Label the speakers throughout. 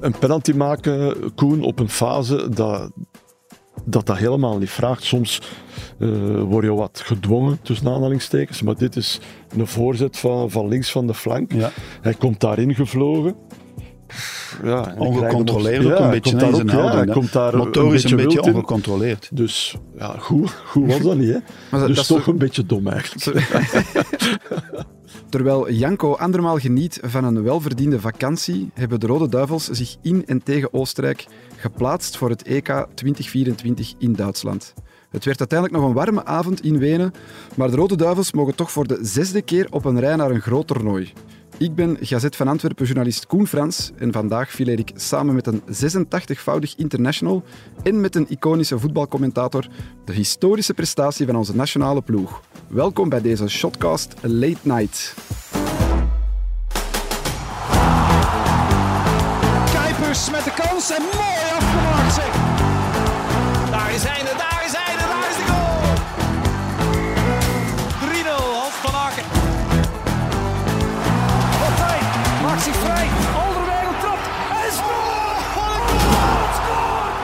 Speaker 1: een penalty maken, Koen, op een fase dat dat, dat helemaal niet vraagt. Soms eh, word je wat gedwongen, tussen aanhalingstekens. Maar dit is een voorzet van, van links van de flank.
Speaker 2: Ja.
Speaker 1: Hij komt daarin gevlogen. Pff, Ja, en hij krijgt hem op-
Speaker 2: Ongecontroleerd
Speaker 1: Ja,
Speaker 2: ook een
Speaker 1: hij
Speaker 2: beetje.
Speaker 1: komt
Speaker 2: hè,
Speaker 1: daar
Speaker 2: in zijn
Speaker 1: ook- ja,
Speaker 2: houding,
Speaker 1: hij
Speaker 2: hè.
Speaker 1: komt daar
Speaker 2: Motorisch
Speaker 1: een beetje, wild in.
Speaker 2: ongecontroleerd.
Speaker 1: Dus ja, goed, goed was dat niet. Hè?
Speaker 3: Maar dat-
Speaker 1: dus
Speaker 3: dat is
Speaker 1: toch
Speaker 3: toch-
Speaker 1: een beetje dom eigenlijk.
Speaker 3: Terwijl Janko andermaal geniet van een welverdiende vakantie, hebben de Rode Duivels zich in en tegen Oostenrijk geplaatst voor het E EK 2024 in Duitsland. Het werd uiteindelijk nog een warme avond in Wenen, maar de Rode Duivels mogen toch voor de zesde keer op een rij naar een groot toernooi. Ik ben Gazet van Antwerpen journalist Koen Frans en vandaag fileer ik samen met een 86-voudig international en met een iconische voetbalcommentator de historische prestatie van onze nationale ploeg. Welkom bij deze Shotcast Late Night.
Speaker 4: Kuipers met de kans en mooi afgemaakt zeg. Daar is hij, daar is hij, daar is de goal. 3-0, Hans van Aken. Partij maakt zich vrij. Alderweireld trapt en scoort. Wat een goal! Scoort!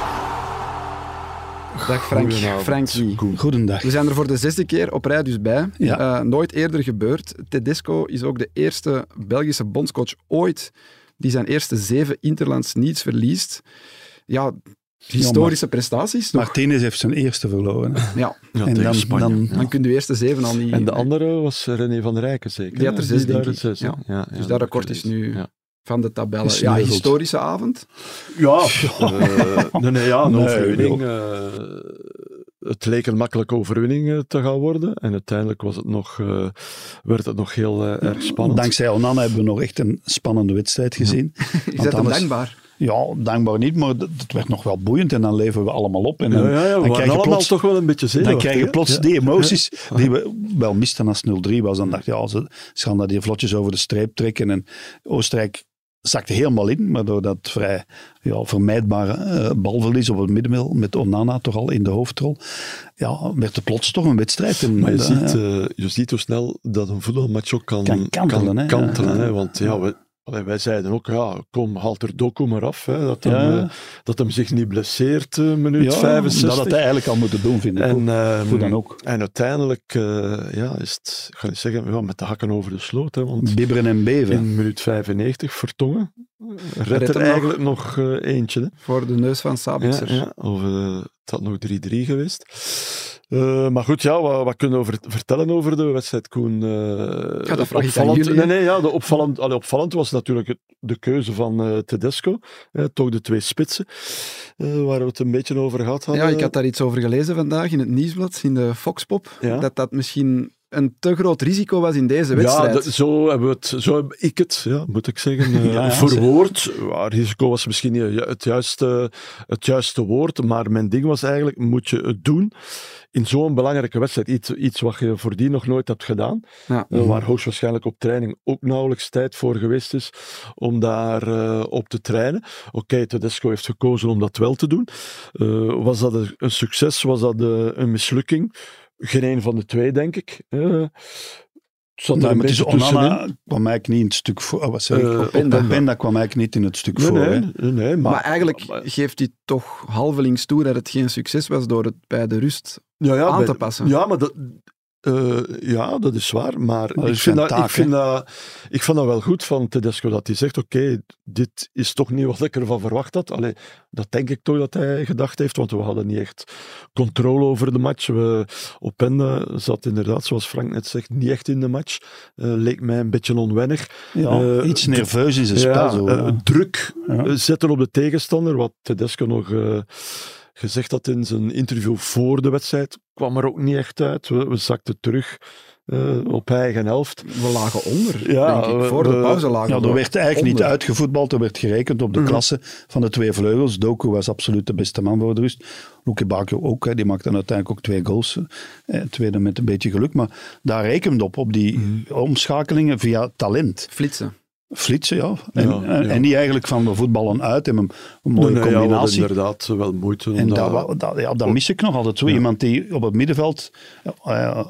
Speaker 3: Dag Frank.
Speaker 1: Goedenavond,
Speaker 3: Frankie.
Speaker 1: Koen.
Speaker 2: Goedendag.
Speaker 3: We zijn er voor de zesde keer op rij dus bij.
Speaker 2: Ja.
Speaker 3: Eh, nooit eerder gebeurd. Tedesco is ook de eerste Belgische bondscoach ooit die zijn eerste zeven interlands niets verliest. Ja, historische prestaties toch?
Speaker 2: Martinez heeft zijn eerste verloren. hè.
Speaker 3: Ja,
Speaker 1: Ja,
Speaker 2: en
Speaker 1: tegen
Speaker 2: dan,
Speaker 1: Spanje.
Speaker 2: dan
Speaker 3: dan kun je de eerste zeven al niet...
Speaker 1: En de andere was René van der Rijken zeker.
Speaker 3: Die had
Speaker 1: hè?
Speaker 3: er zes,
Speaker 1: daar
Speaker 3: denk
Speaker 1: het
Speaker 3: ik.
Speaker 1: zes, hè?
Speaker 3: Ja.
Speaker 1: Ja, ja,
Speaker 3: dat
Speaker 1: heb ik
Speaker 3: akkoord is
Speaker 1: gelezen.
Speaker 3: nu-
Speaker 1: Ja,
Speaker 3: Van de tabellen. Ja,
Speaker 2: Gesneuveld.
Speaker 3: historische avond.
Speaker 1: ja. eh, nee, nee, ja, een
Speaker 2: Nee,
Speaker 1: overwinning. eh, het leek een makkelijke overwinning eh, te gaan worden. En uiteindelijk was het nog, eh, werd het nog heel eh, erg spannend.
Speaker 2: dankzij Onana hebben we nog echt een spannende wedstrijd gezien.
Speaker 3: Je
Speaker 2: Want
Speaker 3: bent hem
Speaker 2: anders-
Speaker 3: dankbaar.
Speaker 2: Ja, dankbaar niet, maar dat, dat werd nog wel boeiend en dan leven we allemaal op. En
Speaker 1: Ja, ja,
Speaker 2: dan,
Speaker 1: ja, we
Speaker 2: dan
Speaker 1: waren
Speaker 2: krijg je
Speaker 1: allemaal
Speaker 2: plots,
Speaker 1: toch wel een beetje
Speaker 2: dan
Speaker 1: zenuwachtig.
Speaker 2: krijg je
Speaker 1: hè?
Speaker 2: plots
Speaker 1: Ja.
Speaker 2: die emoties die we wel misten als 0-3 was. Dan dacht je, ja, ze, ze gaan dat hier vlotjes over de streep trekken. En Oostenrijk zakte helemaal in, maar door dat vrij ja, vermijdbare eh, balverlies op het middenveld met Onana toch al in de hoofdrol, ja, werd het plots toch een wedstrijd. En,
Speaker 1: Maar je,
Speaker 2: eh,
Speaker 1: ziet, eh, je ziet hoe snel dat een voetbalmatch ook kan,
Speaker 2: Kan kantelen, hè?
Speaker 1: kantelen,
Speaker 2: Ja.
Speaker 1: hè. Want ja, we, allee, wij zeiden ook, ja, kom, haal er Doku maar af. Hè, dat, hem,
Speaker 2: Ja.
Speaker 1: eh, dat hem zich niet blesseert, eh, minuut
Speaker 2: ja,
Speaker 1: 65.
Speaker 2: Dat had hij eigenlijk al moeten doen, vind ik.
Speaker 1: en,
Speaker 2: En,
Speaker 1: ehm,
Speaker 2: hoe dan ook.
Speaker 1: en uiteindelijk eh, ja, is het, ik ga niet zeggen, ja, met de hakken over de sloot. Hè, want
Speaker 2: Bibberen en beven.
Speaker 1: in minuut 95 vertongen. Redt
Speaker 3: Redt
Speaker 1: er
Speaker 3: hem
Speaker 1: eigenlijk nog, eh, eentje. Hè.
Speaker 3: Voor de neus van Sabitzer.
Speaker 1: Ja, ja. Of, eh, het had nog 3-3 geweest. Eh, maar goed, ja, wat, wat kunnen we over- vertellen over de wedstrijd, Koen? Eh,
Speaker 3: vraag
Speaker 1: het
Speaker 3: ik aan jullie, hè.
Speaker 1: nee, nee, ja, de opvallend, allee, opvallend was natuurlijk het- de keuze van eh, Tedesco. Eh, toch de twee spitsen, eh, waar we het een beetje over gehad hadden.
Speaker 3: Ja, ik had daar iets over gelezen vandaag in het nieuwsblad, in de Foxpop.
Speaker 1: Ja.
Speaker 3: Dat dat misschien een te groot risico was in deze
Speaker 1: Ja,
Speaker 3: wedstrijd.
Speaker 1: dat- zo, hebben we het, zo heb ik het, ja, moet ik zeggen, eh,
Speaker 2: Ja, ja,
Speaker 1: verwoord. Ja, risico was misschien niet ju- het juiste, het juiste woord, maar mijn ding was eigenlijk, moet je het doen in zo'n belangrijke wedstrijd? Iets, iets wat je voordien nog nooit hebt gedaan,
Speaker 3: Ja.
Speaker 2: Mhm.
Speaker 1: eh, waar hoogstwaarschijnlijk op training ook nauwelijks tijd voor geweest is om daar eh, op te trainen. Oké, Tedesco heeft gekozen om dat wel te doen. Eh, was dat een, een succes? Was dat eh, een mislukking? Geen een van de twee, denk ik. Eh, het zat
Speaker 2: Nee,
Speaker 1: daar een
Speaker 2: maar het is
Speaker 1: beetje tussenin.
Speaker 2: Onana kwam eigenlijk niet in het stuk voor. Oh, wat zeg ik?
Speaker 1: Eh,
Speaker 3: Openda.
Speaker 2: Openda kwam eigenlijk niet in het stuk
Speaker 1: Nee,
Speaker 2: voor. hè.
Speaker 1: nee, nee, nee, maar,
Speaker 3: Maar, eigenlijk
Speaker 1: maar-
Speaker 3: geeft hij toch halvelings toe dat het geen succes was door het bij de rust.
Speaker 1: ja, ja,
Speaker 3: aan
Speaker 1: bij-
Speaker 3: te passen.
Speaker 1: Ja, maar dat, eh, ja, dat is waar. Maar
Speaker 2: dat
Speaker 1: ik, vind
Speaker 2: is zijn
Speaker 1: dat, ik,
Speaker 2: taak,
Speaker 1: vind dat, ik vond dat wel goed van Tedesco dat hij zegt: Oké, dit is toch niet wat ik ervan verwacht had. Allee, dat denk ik toch dat hij gedacht heeft, want we hadden niet echt controle over de match. We, Openda zat inderdaad, zoals Frank net zegt, niet echt in de match. Eh, leek mij een beetje onwennig.
Speaker 2: Ja,
Speaker 1: Eh,
Speaker 2: iets nerveus in zijn spel. Zo,
Speaker 1: eh,
Speaker 2: ja.
Speaker 1: druk
Speaker 2: Ja.
Speaker 1: eh, zetten op de tegenstander, wat Tedesco nog eh, gezegd had in zijn interview voor de wedstrijd, kwam er ook niet echt uit. We, we zakten terug eh, op eigen helft.
Speaker 3: We lagen onder,
Speaker 1: Ja,
Speaker 3: denk ik.
Speaker 1: we-
Speaker 3: Voor de
Speaker 1: we-
Speaker 3: pauze lagen
Speaker 2: Ja,
Speaker 3: we
Speaker 2: er werd eigenlijk niet
Speaker 3: onder.
Speaker 2: uitgevoetbald, er werd gerekend op de
Speaker 1: Mhm.
Speaker 2: klasse van de twee vleugels. Doku was absoluut de beste man voor de rust. Luke Bakio ook, hè, die maakte dan uiteindelijk ook twee goals. Eh, tweede met een beetje geluk, maar daar rekent op, op die
Speaker 1: Mhm.
Speaker 2: omschakelingen via talent.
Speaker 3: Flitsen.
Speaker 2: Flitsen, ja. En,
Speaker 1: Ja,
Speaker 2: en,
Speaker 1: ja.
Speaker 2: en niet eigenlijk van we voetballen uit en een, een mooie
Speaker 1: Nee, nee, ja, we hadden
Speaker 2: combinatie.
Speaker 1: inderdaad wel moeite. om
Speaker 2: En
Speaker 1: daar-
Speaker 2: dat, wa- dat, ja, dat mis ik nog altijd. Zo iemand die op het middenveld eh,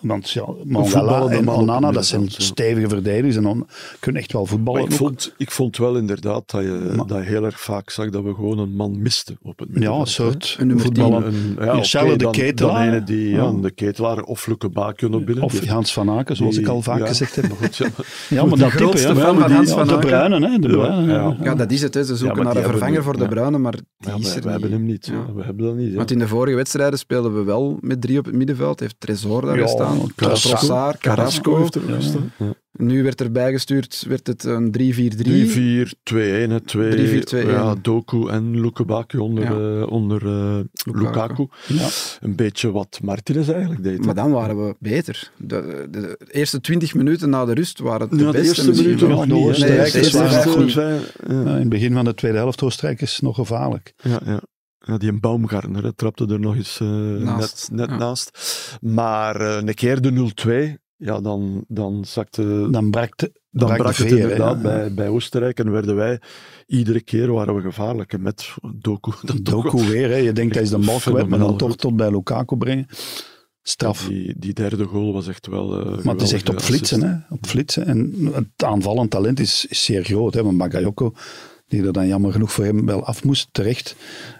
Speaker 2: Want ja,
Speaker 1: voetballen
Speaker 2: Mangala
Speaker 1: dan
Speaker 2: en
Speaker 1: maar op het
Speaker 2: Onana, dat zijn
Speaker 1: middenveld, ja.
Speaker 2: stevige verdedigers en on- kunnen echt wel voetballen.
Speaker 1: Maar ik
Speaker 2: ook.
Speaker 1: vond, ik vond wel inderdaad dat je,
Speaker 2: Maar-
Speaker 1: dat je heel erg vaak zag dat we gewoon een man misten op het
Speaker 2: ja, een
Speaker 1: middenveld.
Speaker 2: soort
Speaker 3: Een nummer
Speaker 2: voetballer.
Speaker 1: Een- een- ja,
Speaker 2: Marcelo
Speaker 1: oké,
Speaker 2: de
Speaker 1: dan,
Speaker 2: Ketelaar.
Speaker 1: Dan ene die ja.
Speaker 2: Ja.
Speaker 1: de ketelaar of Luke Baken op binnen.
Speaker 2: Of
Speaker 1: Die-
Speaker 2: Hans van Aken, zoals
Speaker 1: die-
Speaker 2: ik al vaak
Speaker 1: ja.
Speaker 2: gezegd heb.
Speaker 1: Maar goed, ja, maar-
Speaker 2: Ja, maar
Speaker 3: De
Speaker 2: dat type,
Speaker 3: grootste
Speaker 2: ja.
Speaker 3: fan
Speaker 2: Ja, maar
Speaker 3: van
Speaker 2: die-
Speaker 3: Hans
Speaker 2: ja,
Speaker 3: van
Speaker 2: de
Speaker 3: Aken.
Speaker 2: Bruinen, hè. De
Speaker 1: Ja,
Speaker 2: Bruinen, ja.
Speaker 1: ja.
Speaker 3: Ja, dat is het. Hè. Ze zoeken
Speaker 1: maar
Speaker 3: naar
Speaker 1: die
Speaker 3: een
Speaker 1: hebben
Speaker 3: vervanger
Speaker 1: we-
Speaker 3: voor de
Speaker 1: ja.
Speaker 3: Bruinen, maar die
Speaker 1: ja,
Speaker 3: is
Speaker 1: maar
Speaker 3: er
Speaker 1: we hebben
Speaker 3: niet.
Speaker 1: hem niet. ja.
Speaker 3: Ja.
Speaker 1: We hebben dat niet. ja.
Speaker 3: Want in de vorige wedstrijden speelden we wel met drie op het middenveld. Heeft Tresor daar
Speaker 2: Ja,
Speaker 3: gestaan,
Speaker 2: Carrasco.
Speaker 3: Trossard,
Speaker 1: Carrasco
Speaker 3: Carrasco.
Speaker 1: heeft er gestaan. Ja.
Speaker 3: Nu werd erbij gestuurd, werd het een
Speaker 1: 3,
Speaker 3: 3-4-3.
Speaker 1: 4, 2, 1, 2.
Speaker 3: 3-4-2-1.
Speaker 1: Ja, Doku en Luke Baku onder,
Speaker 3: Ja.
Speaker 1: eh, onder eh,
Speaker 3: Lukaku.
Speaker 1: Lukaku.
Speaker 2: Ja.
Speaker 1: Een beetje wat Martinez eigenlijk deed. hè.
Speaker 3: Maar dan waren we beter. De, de- de eerste 20 minuten na de rust waren het de
Speaker 1: Ja, de
Speaker 3: beste
Speaker 1: eerste
Speaker 3: misschien
Speaker 1: minuten
Speaker 3: wel.
Speaker 1: nog
Speaker 2: Nee,
Speaker 1: niet.
Speaker 2: de
Speaker 1: hè.
Speaker 2: eerste
Speaker 1: eerste
Speaker 2: waren nog
Speaker 1: minuten
Speaker 2: niet.
Speaker 1: zijn-
Speaker 2: Ja,
Speaker 1: ja.
Speaker 2: in het begin van de tweede helft Oostenrijk is nog gevaarlijk.
Speaker 1: Ja, ja. Ja, die een Baumgartner hè, trapte er nog eens eh,
Speaker 3: Naast,
Speaker 1: net, net
Speaker 3: ja.
Speaker 1: naast. Maar eh, een keer de 0-2, ja, dan, dan zakte... Dan,
Speaker 2: Dan brak, de,
Speaker 1: brak,
Speaker 2: brak de
Speaker 1: het
Speaker 2: veer,
Speaker 1: inderdaad
Speaker 2: hè, ja.
Speaker 1: bij, bij Oostenrijk en werden wij... Iedere keer waren we gevaarlijk en met Doku. Dat
Speaker 2: Doku weer, hè. je denkt hij is de bal kwijt, maar dan
Speaker 1: Fenomenaal
Speaker 2: toch
Speaker 1: goed.
Speaker 2: tot bij Lukaku brengen. Straf.
Speaker 1: Die, die derde goal was echt wel... eh,
Speaker 2: Maar het is
Speaker 1: geweldig,
Speaker 2: echt op
Speaker 1: ja,
Speaker 2: flitsen, hè? op flitsen. En het aanvallend talent is, is zeer groot. Hè? Want Bakayoko, die er dan jammer genoeg voor hem wel af moest, terecht.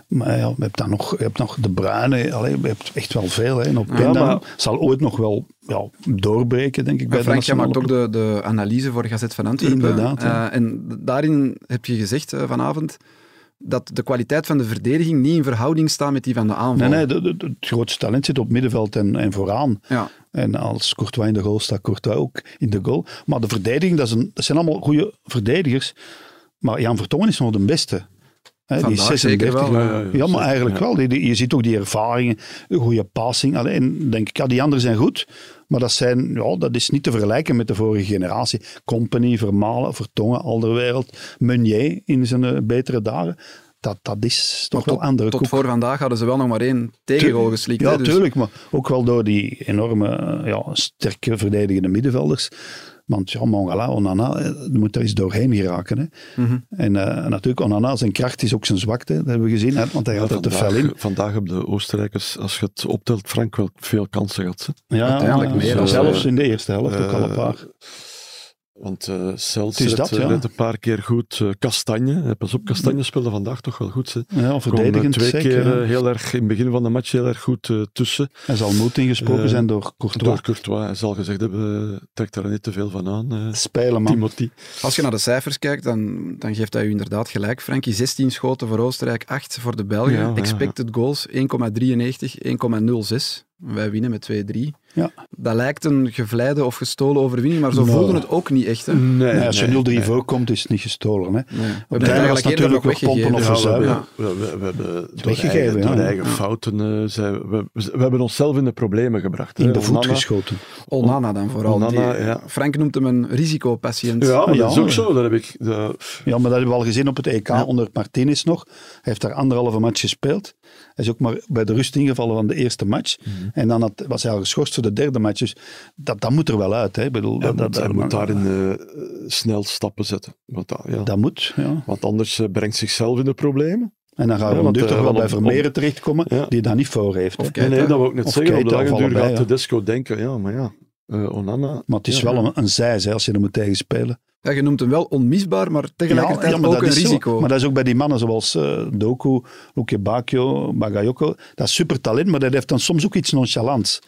Speaker 2: Maar ja, je hebt dan nog, je hebt nog de Bruine, allee, je hebt echt wel veel. Hè? En op Penda
Speaker 1: maar-
Speaker 2: zal ooit nog wel ja, doorbreken, denk ik. Bij
Speaker 3: Maar Frank, jij
Speaker 2: de nationale
Speaker 3: maakt ook
Speaker 2: ploeg.
Speaker 3: de, de analyse voor Gazet van Antwerpen.
Speaker 2: Inderdaad, ja.
Speaker 3: Eh, en d- daarin heb je gezegd eh, vanavond dat de kwaliteit van de verdediging niet in verhouding staat met die van de aanval.
Speaker 2: Nee, nee, de- de- de- het grootste talent zit op middenveld en, en vooraan.
Speaker 3: Ja.
Speaker 2: En als Courtois in de goal staat, Courtois ook in de goal. Maar de verdediging, dat, is een, dat zijn allemaal goede verdedigers. Maar Jan Vertongen is nog de beste. Hè, die is
Speaker 3: Vandaag zeker
Speaker 2: 36.
Speaker 3: wel.
Speaker 1: Ja, ja, ja.
Speaker 2: Ja, maar
Speaker 1: zeker,
Speaker 2: eigenlijk
Speaker 1: ja.
Speaker 2: wel. Die- die- je ziet ook die ervaringen, een goede passing. Alleen denk ik, ja, die anderen zijn goed. Maar dat, zijn, ja, dat is niet te vergelijken met de vorige generatie. Company, Vermalen, Vertongen, Alderwereld, Meunier in zijn eh, betere dagen. Dat, dat is toch
Speaker 3: Maar
Speaker 2: wel andere
Speaker 3: tot
Speaker 2: koek.
Speaker 3: voor vandaag hadden ze wel nog maar één tegengoal geslikt.
Speaker 2: Ja,
Speaker 3: hè, dus-
Speaker 2: tuurlijk, maar ook wel door die enorme, eh, ja, sterke verdedigende middenvelders. Want ja, Mongala, Onana, eh, er moet daar eens doorheen geraken. Hè.
Speaker 3: Mhm.
Speaker 2: En eh, natuurlijk, Onana, zijn kracht is ook zijn zwakte, dat hebben we gezien. hè, Want hij gaat er te fel in.
Speaker 1: Vandaag hebben de Oostenrijkers, als je het optelt, Frank wel veel kansen gehad. hè.
Speaker 2: Ja,
Speaker 3: uiteindelijk
Speaker 2: ja,
Speaker 3: meer
Speaker 2: zo
Speaker 1: dan-
Speaker 2: Zelfs in de eerste helft ook al een
Speaker 1: Eh,
Speaker 2: paar.
Speaker 1: Want eh Cels
Speaker 2: Het is
Speaker 1: redt,
Speaker 2: dat, ja.
Speaker 1: redt een paar keer goed. eh, Kastanje, eh, pas op, Kastanje speelde vandaag toch wel goed. Ze
Speaker 2: Ja,
Speaker 1: kwam, eh,
Speaker 2: verdedigend
Speaker 1: twee
Speaker 2: zeker.
Speaker 1: keer
Speaker 2: ja.
Speaker 1: eh, heel erg, in het begin van de match heel erg goed eh, tussen.
Speaker 2: Hij zal moed ingesproken
Speaker 1: eh,
Speaker 2: zijn door Courtois.
Speaker 1: Door Courtois, hij zal gezegd hebben, eh, trek daar niet te veel van aan. eh,
Speaker 2: Spelen, man.
Speaker 1: Timothy.
Speaker 3: Als je naar de cijfers kijkt, dan, dan geeft dat u inderdaad gelijk. Frankie, 16 schoten voor Oostenrijk, 8 voor de Belgen.
Speaker 1: Ja, ja, ja.
Speaker 3: Expected goals, 1,93, 1,06. Wij winnen met 2-3.
Speaker 2: Ja.
Speaker 3: Dat lijkt een gevleide of gestolen overwinning, maar zo
Speaker 2: Nee.
Speaker 3: voelden het ook niet echt. Hè?
Speaker 2: Nee, als je
Speaker 1: nee,
Speaker 2: 0-3
Speaker 1: nee.
Speaker 2: voorkomt, is het niet gestolen. Hè.
Speaker 3: Nee. We hebben
Speaker 2: was natuurlijk nog pompen
Speaker 1: Ja,
Speaker 2: of
Speaker 1: we,
Speaker 2: verzuipen.
Speaker 1: hebben- we, we- we hebben door
Speaker 2: Weggegeven,
Speaker 1: eigen, door
Speaker 2: ja.
Speaker 1: eigen fouten, eh, zijn, we, we hebben onszelf in de problemen gebracht. hè.
Speaker 2: In de voet
Speaker 1: Eh, Onana-
Speaker 2: geschoten.
Speaker 3: Onana dan vooral.
Speaker 1: Onana,
Speaker 3: die-
Speaker 1: ja.
Speaker 3: Frank noemt hem een risicopatiënt.
Speaker 1: Ja, maar dat is
Speaker 2: Ja.
Speaker 1: ook zo. Daar heb ik, de,
Speaker 2: Ja, maar dat hebben we al gezien op het EK onder Martinez nog. Hij heeft daar anderhalve match gespeeld. Hij is ook maar bij de rust ingevallen van de eerste match.
Speaker 1: Mhm.
Speaker 2: En dan had, was hij al geschorst voor de derde match. Dus dat, dat moet er wel uit. Hè. Ik bedoel,
Speaker 1: Hij
Speaker 2: dat,
Speaker 1: moet,
Speaker 2: dat,
Speaker 1: hij
Speaker 2: dat-
Speaker 1: moet daarin eh, snel stappen zetten. Want, dat- ja.
Speaker 2: dat moet, ja.
Speaker 1: want anders eh, brengt zichzelf in de problemen.
Speaker 2: En dan gaan we
Speaker 1: Ja, want,
Speaker 2: nu
Speaker 1: eh,
Speaker 2: toch wel
Speaker 1: want
Speaker 2: bij
Speaker 1: om-
Speaker 2: Vermeeren terechtkomen,
Speaker 1: Ja.
Speaker 2: die daar niet voor heeft. hè.
Speaker 3: Of
Speaker 1: Nee,
Speaker 3: Keita.
Speaker 1: nee, dat wil ik net
Speaker 2: Of
Speaker 1: zeggen. Op de
Speaker 2: Keita of
Speaker 1: lange duur
Speaker 2: allebei,
Speaker 1: gaat
Speaker 2: ja.
Speaker 1: Tedesco denken, ja, maar ja, eh, Onana...
Speaker 2: Maar het is wel een, een zijs, hè, als je er moet tegen spelen.
Speaker 3: Ja, je noemt hem wel onmisbaar, maar tegelijkertijd
Speaker 2: Ja, maar
Speaker 3: ook
Speaker 2: dat
Speaker 3: een
Speaker 2: is zo.
Speaker 3: risico.
Speaker 2: Maar dat is ook bij die mannen zoals eh, Doku, Luke Bakio, Bagayoko. Dat is super talent, maar dat heeft dan soms ook iets nonchalants.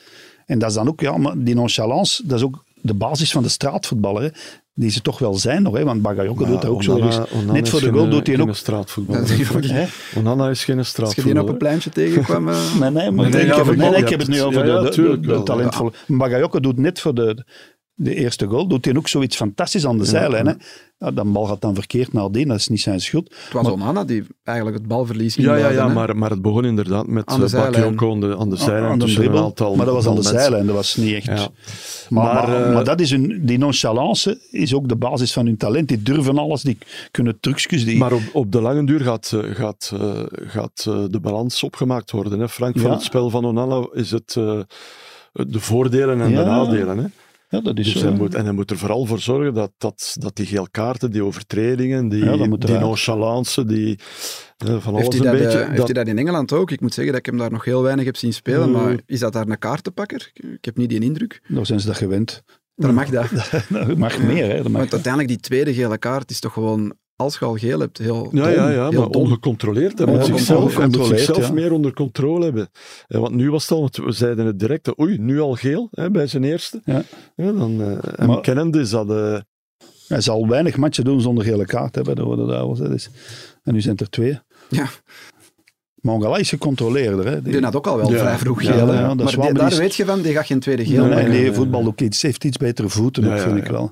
Speaker 2: En dat is dan ook, ja, maar die nonchalance, dat is ook de basis van de straatvoetballer. hè, Die ze toch wel zijn nog, hè, want Bagayoko doet dat ook zo.
Speaker 1: Onana-
Speaker 2: ergens.
Speaker 1: Onana
Speaker 2: Net voor
Speaker 1: is
Speaker 2: de goal
Speaker 1: geen, eh,
Speaker 2: doet hij
Speaker 1: geen
Speaker 2: ook.
Speaker 1: straatvoetballer.
Speaker 3: Dat is ook niet.
Speaker 2: Hè?
Speaker 1: Onana is geen
Speaker 3: Als je die nou op
Speaker 1: straatvoetballer.
Speaker 3: een pleintje tegenkwam... eh,
Speaker 2: Nee, nee, maar
Speaker 1: Nee, nee,
Speaker 2: ik,
Speaker 1: ja,
Speaker 2: heb,
Speaker 1: maar
Speaker 2: het- nee,
Speaker 1: ik-
Speaker 2: nee, ik heb het nu
Speaker 1: Ja,
Speaker 2: over
Speaker 1: ja,
Speaker 2: de, de, de,
Speaker 1: tuurlijk
Speaker 2: de
Speaker 1: wel.
Speaker 2: talentvolle. Bagayoko doet net voor de, de eerste goal, doet hij ook zoiets fantastisch aan de zijlijn. Hè? Ja, dan bal gaat dan verkeerd nadien, dat is niet zijn schuld.
Speaker 3: Het was Onana die eigenlijk het balverlies
Speaker 1: Ja, ja, ja
Speaker 3: inleidde, hè.
Speaker 1: maar, maar het begon inderdaad met
Speaker 3: Aan de
Speaker 1: eh, Bakayoko
Speaker 3: zijlijn.
Speaker 1: aan de, aan de zijlijn.
Speaker 2: aan de
Speaker 1: tussen een
Speaker 2: dribbel,
Speaker 1: aantal-
Speaker 2: maar dat was aan de
Speaker 1: aantal mensen.
Speaker 2: zijlijn, dat was niet echt.
Speaker 1: Ja.
Speaker 2: Maar, maar,
Speaker 1: Maar, eh,
Speaker 2: maar dat is hun, die nonchalance is ook de basis van hun talent. Die durven alles, die kunnen trucjes. Die,
Speaker 1: Maar op, op de lange duur gaat, eh, gaat, eh, gaat eh, de balans opgemaakt worden. Hè? Frank,
Speaker 2: Ja.
Speaker 1: van het spel van Onana is het eh, de voordelen en de
Speaker 2: Ja. eh,
Speaker 1: nadelen. Hè?
Speaker 2: Ja, dat is
Speaker 1: Dus
Speaker 2: zo.
Speaker 1: hij moet, en hij moet er vooral voor zorgen dat, dat, dat die geel kaarten, die overtredingen, die,
Speaker 2: Ja, dat moet
Speaker 1: die
Speaker 2: eruit.
Speaker 1: nonchalance, die eh, van
Speaker 3: Heeft
Speaker 1: alles
Speaker 3: hij,
Speaker 1: een
Speaker 3: dat, eh,
Speaker 1: beetje.
Speaker 3: heeft
Speaker 1: dat-
Speaker 3: hij dat in Engeland ook? Ik moet zeggen dat ik hem daar nog heel weinig heb zien spelen,
Speaker 1: Mm.
Speaker 3: maar is dat daar een kaartenpakker? Ik heb niet die indruk.
Speaker 2: Nog zijn ze dat gewend.
Speaker 3: Dan mag dat.
Speaker 1: Nou,
Speaker 2: Dat mag meer, hè. Dat mag
Speaker 3: Want uiteindelijk die tweede gele kaart is toch gewoon, als je al geel hebt, heel dom.
Speaker 1: ja, ja, ja,
Speaker 3: heel
Speaker 1: maar
Speaker 3: dom.
Speaker 1: ongecontroleerd. Hij moet
Speaker 3: Ongecontroleerd,
Speaker 1: zichzelf, hij moet
Speaker 2: ongecontroleerd,
Speaker 1: zichzelf
Speaker 2: ja.
Speaker 1: meer onder controle hebben. Eh, want nu was het al, want we zeiden het direct, eh, oei, nu al geel hè, bij zijn eerste.
Speaker 2: Ja.
Speaker 1: dan, eh hem
Speaker 2: Maar-
Speaker 1: kennende is dat... eh,
Speaker 2: Hij zal weinig matchen doen zonder gele kaart hebben, de Rode Duivels. Dat is. En nu zijn het er twee.
Speaker 3: Ja.
Speaker 2: Mongala is gecontroleerd, hè.
Speaker 3: Die had ook al wel
Speaker 1: Ja.
Speaker 3: vrij vroeg
Speaker 1: Ja,
Speaker 3: geel. hè.
Speaker 1: ja,
Speaker 2: dat
Speaker 3: maar
Speaker 2: is waar,
Speaker 3: die-
Speaker 2: maar
Speaker 3: daar
Speaker 2: die is-
Speaker 3: weet je van, die gaat geen tweede geel
Speaker 2: Nee,
Speaker 3: maken.
Speaker 2: nee, die
Speaker 1: eh,
Speaker 2: voetbal ook iets, heeft iets betere voeten,
Speaker 1: Ja,
Speaker 2: ook,
Speaker 1: ja,
Speaker 2: vind
Speaker 1: ja.
Speaker 2: ik wel.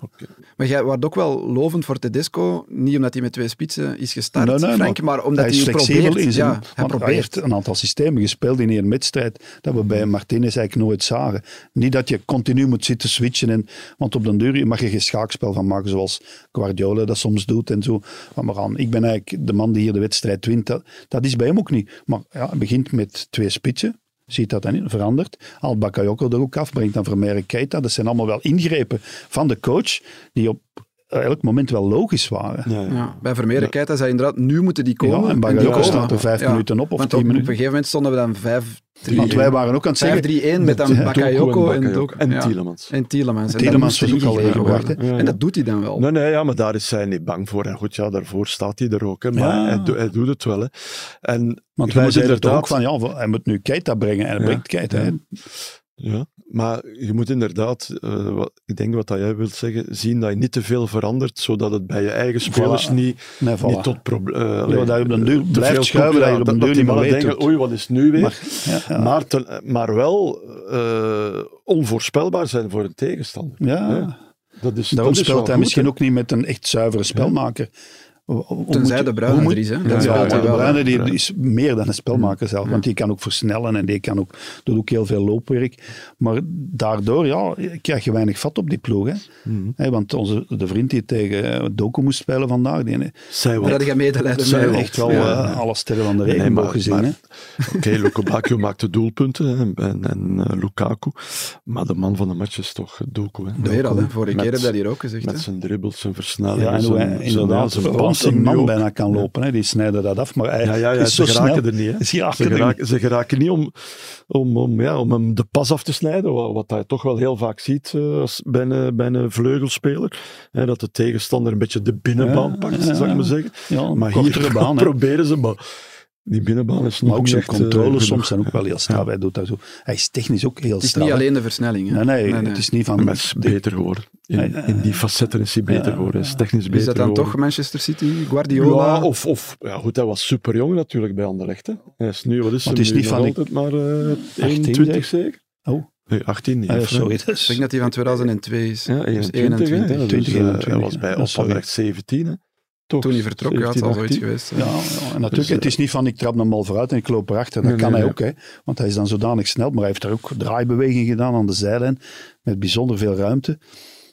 Speaker 3: Maar jij wordt ook wel lovend voor Tedesco, niet omdat hij met twee spitsen is gestart,
Speaker 2: Nee, nee,
Speaker 3: Frank, maar, omdat
Speaker 2: hij is flexibel
Speaker 3: probeert.
Speaker 2: in zijn...
Speaker 3: ja, hij
Speaker 2: want
Speaker 3: probeert.
Speaker 2: heeft een aantal systemen gespeeld in één wedstrijd dat we bij Martinez eigenlijk nooit zagen. Niet dat je continu moet zitten switchen, en, want op den duur mag je geen schaakspel van maken zoals Guardiola dat soms doet en zo. Maar, maar aan, ik ben eigenlijk de man die hier de wedstrijd wint. Dat, dat is bij hem ook niet. Maar ja, hij begint met twee spitsen. Ziet dat dan in, verandert. Haalt Bakayoko er ook af, brengt dan Vermeer en Keita. Dat zijn allemaal wel ingrepen van de coach, die op elk moment wel logisch waren.
Speaker 1: ja, ja.
Speaker 3: Ja, bij Vermeer kijkt hij zei inderdaad, nu moeten die komen.
Speaker 2: Ja, en
Speaker 3: die
Speaker 2: Bagayogo
Speaker 3: komen.
Speaker 2: staat er vijf
Speaker 3: Ja,
Speaker 2: minuten op of
Speaker 3: Want
Speaker 2: tien
Speaker 3: op, op een
Speaker 2: minuten.
Speaker 3: gegeven moment stonden we dan 5
Speaker 2: Want wij waren ook aan het zeggen,
Speaker 3: 5-3-1 met dan
Speaker 2: Doku en
Speaker 3: Bakayoko en,
Speaker 1: Bakayoko.
Speaker 3: Doku.
Speaker 1: En
Speaker 3: ja.
Speaker 1: Tielemans.
Speaker 3: En Tielemans. En
Speaker 2: Tielemans
Speaker 3: dat moest
Speaker 2: was ook al
Speaker 3: ingegrepen
Speaker 2: ingebracht,
Speaker 3: worden.
Speaker 1: hè. Ja,
Speaker 3: En
Speaker 1: ja.
Speaker 3: dat doet hij dan wel.
Speaker 1: Nee, nee, ja, maar daar is hij niet bang voor. En goed, ja, daarvoor staat hij er ook. Hè, maar
Speaker 2: Ja.
Speaker 1: hij, doe- hij doet het wel. Hè. En
Speaker 2: Want
Speaker 1: je
Speaker 2: wij
Speaker 1: moet
Speaker 2: zeiden er
Speaker 1: inderdaad-
Speaker 2: ook van, ja, hij moet nu Keita brengen. En hij
Speaker 1: Ja.
Speaker 2: brengt Keita.
Speaker 1: Ja.
Speaker 2: hè.
Speaker 1: Ja, maar je moet inderdaad, eh, wat, ik denk wat dat jij wilt zeggen, zien dat je niet te veel verandert, zodat het bij je eigen spelers
Speaker 2: Voilà.
Speaker 1: niet,
Speaker 2: Nee, voilà.
Speaker 1: niet tot eh, problemen...
Speaker 2: Ja, dat je op den duur blijft schuiven, dat je op den duur niet meer weet
Speaker 1: denken,
Speaker 2: wat-
Speaker 1: oei, wat is nu weer?
Speaker 2: Maar,
Speaker 1: Maar,
Speaker 2: ja, ja.
Speaker 1: te- maar wel eh, onvoorspelbaar zijn voor een tegenstander.
Speaker 2: Ja.
Speaker 1: Dat is,
Speaker 2: Daarom
Speaker 1: dat is wel
Speaker 2: speelt hij
Speaker 1: goed,
Speaker 2: misschien
Speaker 1: hè.
Speaker 2: ook niet met een echt zuivere spelmaker. Hoe- hoe
Speaker 3: Tenzij
Speaker 2: moet-
Speaker 3: de Bruyne
Speaker 2: hoe moet-
Speaker 3: er is, hè. Dan
Speaker 2: Ja,
Speaker 3: speelt hij
Speaker 2: maar de
Speaker 3: wel, hè.
Speaker 2: Bruyne die is meer dan een spelmaker zelf. Want die kan ook versnellen en die kan ook, doet ook heel veel loopwerk. Maar daardoor ja, krijg je weinig vat op die ploeg. Hè. Hè, want onze, de vriend die tegen eh, Doku moest spelen vandaag, die,
Speaker 1: Zij
Speaker 3: Maar
Speaker 1: wel.
Speaker 3: dat gaat medelijden
Speaker 1: Zijn
Speaker 3: mee.
Speaker 1: we
Speaker 3: wel.
Speaker 2: echt wel
Speaker 1: Ja.
Speaker 2: eh, alle sterren van de regenboog
Speaker 1: maar-
Speaker 2: gezien.
Speaker 1: maar-
Speaker 2: hè.
Speaker 1: Oké, Luka Bakio maakt de doelpunten hè, en, en, eh, Lukaku. Maar de man van de match is toch Doku. Hè.
Speaker 3: Weer al, hè. vorige
Speaker 1: Met-
Speaker 3: keer heb je dat hier ook gezegd.
Speaker 1: Met
Speaker 3: hè.
Speaker 1: zijn dribbels, zijn versnellingen.
Speaker 2: Ja, en hoe hij
Speaker 1: zijn,
Speaker 2: inderdaad
Speaker 1: zijn,
Speaker 2: rond
Speaker 1: passing
Speaker 2: een
Speaker 1: nu
Speaker 2: man
Speaker 1: ook.
Speaker 2: bijna kan lopen. Hè. Die snijden dat af, maar hij
Speaker 1: Ja, ja, ja
Speaker 2: is zo
Speaker 1: ze geraken er
Speaker 2: snel.
Speaker 1: niet. Hè.
Speaker 2: Is hij
Speaker 1: Ze,
Speaker 2: achter de-
Speaker 1: geraken, ze geraken niet om, om, om, ja, om hem de pas af te snijden, wa- wat hij toch wel heel vaak ziet eh, als bij, een, bij een vleugelspeler. Hè, dat de tegenstander een beetje de binnenbaan
Speaker 2: Ja,
Speaker 1: pakt,
Speaker 2: ja,
Speaker 1: zou
Speaker 2: ja.
Speaker 1: ik maar zeggen.
Speaker 2: Ja,
Speaker 1: Maar
Speaker 2: kortere
Speaker 1: hier
Speaker 2: baan. hè.
Speaker 1: proberen ze, maar die binnenbaan is nog
Speaker 2: Maar ook
Speaker 1: niet
Speaker 2: zijn
Speaker 1: echt, eh,
Speaker 2: controles
Speaker 1: genoeg.
Speaker 2: soms zijn ook wel heel straf. Hij, doet dat zo. hij is technisch ook heel
Speaker 3: Het is
Speaker 2: straf.
Speaker 3: niet
Speaker 2: hè.
Speaker 3: alleen de versnelling. hè.
Speaker 2: Nee, nee,
Speaker 3: Nee, nee.
Speaker 2: het is niet van...
Speaker 1: Maar hij is beter geworden.
Speaker 2: Ja,
Speaker 1: In,
Speaker 2: ja, ja.
Speaker 1: in die facetten is hij beter geworden. Hij is technisch beter
Speaker 3: Is dat dan
Speaker 1: geworden.
Speaker 3: toch Manchester City, Guardiola?
Speaker 1: Ja, of, of ja, goed, hij was super jong natuurlijk bij Anderlecht. Hè. Hij is nu, wat is
Speaker 2: Maar het
Speaker 1: hem
Speaker 2: is
Speaker 1: nu
Speaker 2: niet
Speaker 1: nog
Speaker 2: van die-
Speaker 1: altijd maar eh 21
Speaker 2: zeg.
Speaker 1: zeker?
Speaker 2: Oh.
Speaker 1: Nee, 18 niet.
Speaker 2: Ah, ja,
Speaker 1: of zo.
Speaker 2: sorry, dat
Speaker 3: Ik
Speaker 2: is...
Speaker 3: denk dat die van 2002 is.
Speaker 1: Ja,
Speaker 3: Dus
Speaker 1: 21. hè.
Speaker 3: 21.
Speaker 1: Dus,
Speaker 2: 20,
Speaker 1: eh,
Speaker 2: 21,
Speaker 1: hij was bij
Speaker 2: ja,
Speaker 1: op
Speaker 2: sorry.
Speaker 1: Anderlecht 17. Hè. Toch,
Speaker 3: Toen hij vertrok, ja, het
Speaker 1: 17,
Speaker 3: zal zoiets
Speaker 1: 18.
Speaker 3: geweest zijn.
Speaker 2: Ja, ja, en natuurlijk,
Speaker 1: Dus, eh,
Speaker 2: het is niet van ik trap hem al vooruit en ik loop erachter. Dat
Speaker 1: Nee,
Speaker 2: kan
Speaker 1: nee,
Speaker 2: hij
Speaker 1: ja.
Speaker 2: ook, hè. Want hij is dan zodanig snel. Maar hij heeft daar ook draaibeweging gedaan aan de zijlijn. Met bijzonder veel ruimte.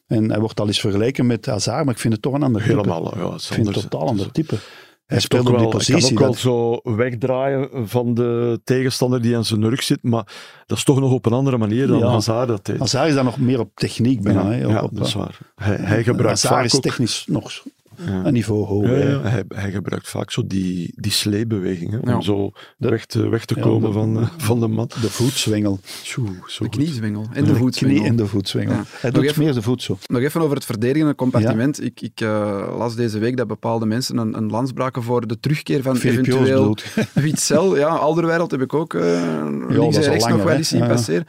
Speaker 2: En hij wordt al eens vergeleken met Hazard, maar ik vind het toch een ander type.
Speaker 1: Helemaal, ja. het is
Speaker 2: Ik vind het
Speaker 1: anders,
Speaker 2: totaal
Speaker 1: hè.
Speaker 2: ander type. Hij
Speaker 1: Hij
Speaker 2: speelt
Speaker 1: ook
Speaker 2: op die
Speaker 1: wel- hij
Speaker 2: positie.
Speaker 1: kan ook
Speaker 2: dat-
Speaker 1: wel zo wegdraaien van de tegenstander die aan zijn rug zit, maar dat is toch nog op een andere manier dan
Speaker 2: Ja.
Speaker 1: Hazard dat deed.
Speaker 2: Hazard is dan nog meer op techniek bijna. hè,
Speaker 1: ja,
Speaker 2: op-
Speaker 1: ja,
Speaker 2: op- eh,
Speaker 1: dat is waar. Hij, hij gebruikt
Speaker 2: Hazard
Speaker 1: vaak
Speaker 2: is
Speaker 1: ook
Speaker 2: technisch nog
Speaker 1: Ja.
Speaker 2: een niveau hoger.
Speaker 1: Ja,
Speaker 2: hè.
Speaker 1: ja, Hij, hij gebruikt vaak zo die, die sleebeweging, hè, om
Speaker 3: Ja.
Speaker 1: zo weg te, weg te
Speaker 2: Ja,
Speaker 1: komen
Speaker 2: de-
Speaker 1: van, eh, van de mat.
Speaker 2: De voetswengel.
Speaker 1: Tjoe, zo
Speaker 3: De
Speaker 1: goed.
Speaker 3: kniezwengel en de voetswengel.
Speaker 2: Knie en de voetswengel.
Speaker 3: Ja.
Speaker 2: Hij
Speaker 3: Nog
Speaker 2: doet
Speaker 3: even-
Speaker 2: meer de voet zo.
Speaker 3: Nog even over het verdedigende compartiment. Ik, ik eh, las deze week dat bepaalde mensen een, een lans braken voor de terugkeer van
Speaker 2: Filip Joos
Speaker 3: eventueel
Speaker 2: bedoelt.
Speaker 3: Witzel. Ja, Alderwereld heb ik ook eh
Speaker 2: dat
Speaker 3: links
Speaker 2: is al
Speaker 3: en rechts nog
Speaker 2: langer,
Speaker 3: wel
Speaker 2: hè?
Speaker 3: eens zien
Speaker 2: Ja.
Speaker 3: passeren.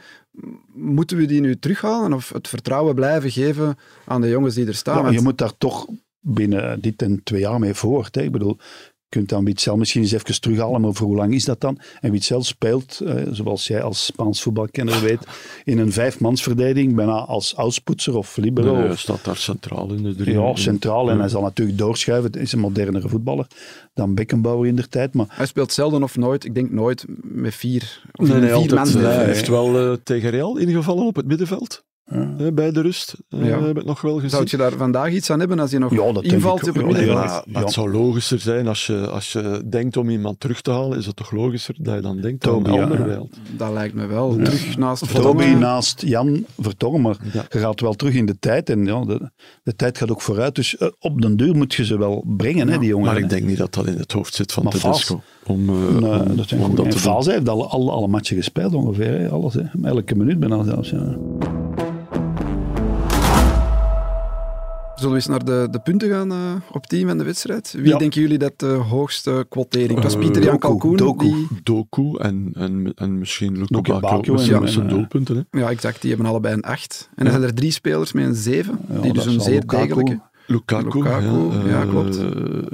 Speaker 3: Moeten we die nu terughalen of het vertrouwen blijven geven aan de jongens die er staan?
Speaker 2: Ja,
Speaker 3: Want-
Speaker 2: je moet daar toch binnen dit en twee jaar mee voort. Hè. Ik bedoel, je kunt dan Witzel misschien eens even terughalen, maar voor hoe lang is dat dan? En Witzel speelt, eh, zoals jij als Spaans voetbalkenner weet, in een vijfmansverdediging, bijna als outpoetser of libero.
Speaker 1: Nee,
Speaker 2: of-
Speaker 1: hij staat daar centraal in de drie.
Speaker 2: ja, centraal. En
Speaker 1: Ja.
Speaker 2: hij zal natuurlijk doorschuiven. Het is een modernere voetballer dan Beckenbauer in der tijd. Maar
Speaker 3: Hij speelt zelden of nooit, ik denk nooit, met vier, of
Speaker 1: Nee, nee,
Speaker 3: vier
Speaker 1: altijd,
Speaker 3: man.
Speaker 1: eh, hij
Speaker 2: nee.
Speaker 1: heeft wel eh, tegen Real ingevallen op het middenveld. hè, bij de rust. Eh,
Speaker 3: Ja.
Speaker 1: Heb ik nog wel gezien.
Speaker 3: Zou je daar vandaag iets aan hebben als je nog
Speaker 2: Ja, dat denk
Speaker 3: invalt
Speaker 2: ik
Speaker 3: op het
Speaker 2: ook wel,
Speaker 3: middenveld?
Speaker 2: ja.
Speaker 1: Maar, maar het zou logischer zijn als je, als je denkt om iemand terug te halen, is het toch logischer dat je dan denkt aan een
Speaker 2: Toby, ja.
Speaker 1: ander wel.
Speaker 3: Dat lijkt me wel. Terug naast
Speaker 2: Toby
Speaker 3: Vertongen.
Speaker 2: naast Jan Vertongen, maar
Speaker 1: Ja.
Speaker 2: je gaat wel terug in de tijd. En ja, de, de tijd gaat ook vooruit. Dus eh, op den duur moet je ze wel brengen, hè, die jongen.
Speaker 1: Maar ik denk niet dat dat in het hoofd zit van
Speaker 2: Maar
Speaker 1: Tedesco. Om, eh, om-
Speaker 2: Nee, dat zijn
Speaker 1: om
Speaker 2: goeie.
Speaker 1: dat
Speaker 2: En
Speaker 1: te doen.
Speaker 2: Vaas heeft al, al, alle matchen gespeeld ongeveer. Hè? Alles, hè? Elke minuut bijna zelfs. Ja.
Speaker 3: Zullen we eens naar de, de punten gaan eh, op team en de wedstrijd? Wie
Speaker 1: Ja.
Speaker 3: denken jullie dat de hoogste quotering? Het was
Speaker 1: Eh,
Speaker 3: Pieter Jan
Speaker 2: Doku,
Speaker 3: Kalkoen.
Speaker 2: Doku.
Speaker 3: Die,
Speaker 1: Doku en, en, en misschien Luka
Speaker 2: Lukaku
Speaker 1: Bakio ook
Speaker 2: en-
Speaker 1: met zijn- met
Speaker 2: en,
Speaker 1: zijn
Speaker 2: eh,
Speaker 1: doelpunten. Hè.
Speaker 3: ja, exact. Die hebben allebei een 8. En dan zijn er drie spelers met een 7. die
Speaker 2: dat
Speaker 3: dus een
Speaker 2: zal
Speaker 3: zeer
Speaker 2: Lukaku.
Speaker 3: degelijke.
Speaker 1: Lukaku,
Speaker 3: Lukaku,
Speaker 1: ja,
Speaker 3: ja,
Speaker 1: eh,
Speaker 3: klopt.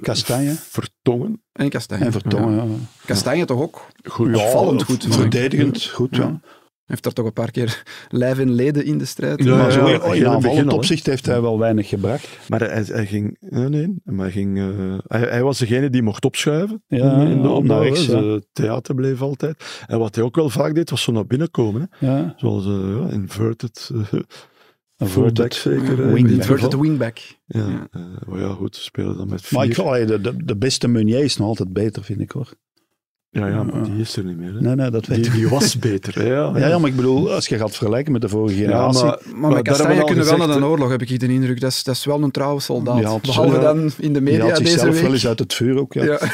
Speaker 2: Kastanje.
Speaker 1: Vertongen,
Speaker 3: En Kastanje.
Speaker 2: En Vertongen, ja.
Speaker 3: Kastanje toch ook?
Speaker 1: goed.
Speaker 3: Opvallend goed, vond ik.
Speaker 2: Verdedigend goed, ja.
Speaker 3: Heeft daar toch een paar keer lijf en leden in de strijd.
Speaker 1: Ja,
Speaker 2: Maar zo
Speaker 1: ja,
Speaker 2: in-
Speaker 1: heel in het
Speaker 2: in
Speaker 1: begin
Speaker 2: aanvallend
Speaker 1: al, hè.
Speaker 2: opzicht heeft hij wel weinig gebracht.
Speaker 1: Maar hij, hij ging... Nee, nee. Maar hij, ging, eh, hij, hij was degene die mocht opschuiven
Speaker 2: Ja,
Speaker 1: in, in de
Speaker 2: om naar
Speaker 1: opbouw. hè.
Speaker 2: rechts, ja.
Speaker 1: Ze- Theater bleef altijd. En wat hij ook wel vaak deed, was zo naar binnen komen. Hè.
Speaker 2: Ja.
Speaker 1: Zoals eh, ja, inverted, eh, fullback
Speaker 2: Inverted.
Speaker 1: zeker. eh, in
Speaker 2: Wingback.
Speaker 1: dit
Speaker 3: Inverted
Speaker 1: geval.
Speaker 3: wingback.
Speaker 1: Ja, eh, maar ja, goed, ze spelen dan met vier.
Speaker 2: Maar ik, allee, de, de, de beste Meunier is nog altijd beter, vind ik hoor.
Speaker 1: ja, ja, maar
Speaker 2: Ja.
Speaker 1: die is er niet meer. Hè.
Speaker 2: Nee, nee, dat weet
Speaker 1: Die,
Speaker 2: ik.
Speaker 1: die was beter. hè, Ja,
Speaker 2: Ja, ja, maar ik bedoel, als je gaat vergelijken met de vorige
Speaker 1: Ja,
Speaker 2: generatie.
Speaker 1: maar,
Speaker 3: Maar, met
Speaker 1: daar hebben we
Speaker 3: Kastanje
Speaker 1: al
Speaker 3: kunnen wel
Speaker 1: gezegd,
Speaker 3: naar een
Speaker 1: hè.
Speaker 3: oorlog, heb ik de indruk. Dat is, dat is wel een trouwe soldaat.
Speaker 2: Ja, het-
Speaker 3: Behalve
Speaker 2: ja.
Speaker 3: dan in de
Speaker 2: die
Speaker 3: media
Speaker 2: haalt
Speaker 3: deze
Speaker 2: zichzelf
Speaker 3: week.
Speaker 2: wel eens uit het vuur ook. Ja.
Speaker 3: ja.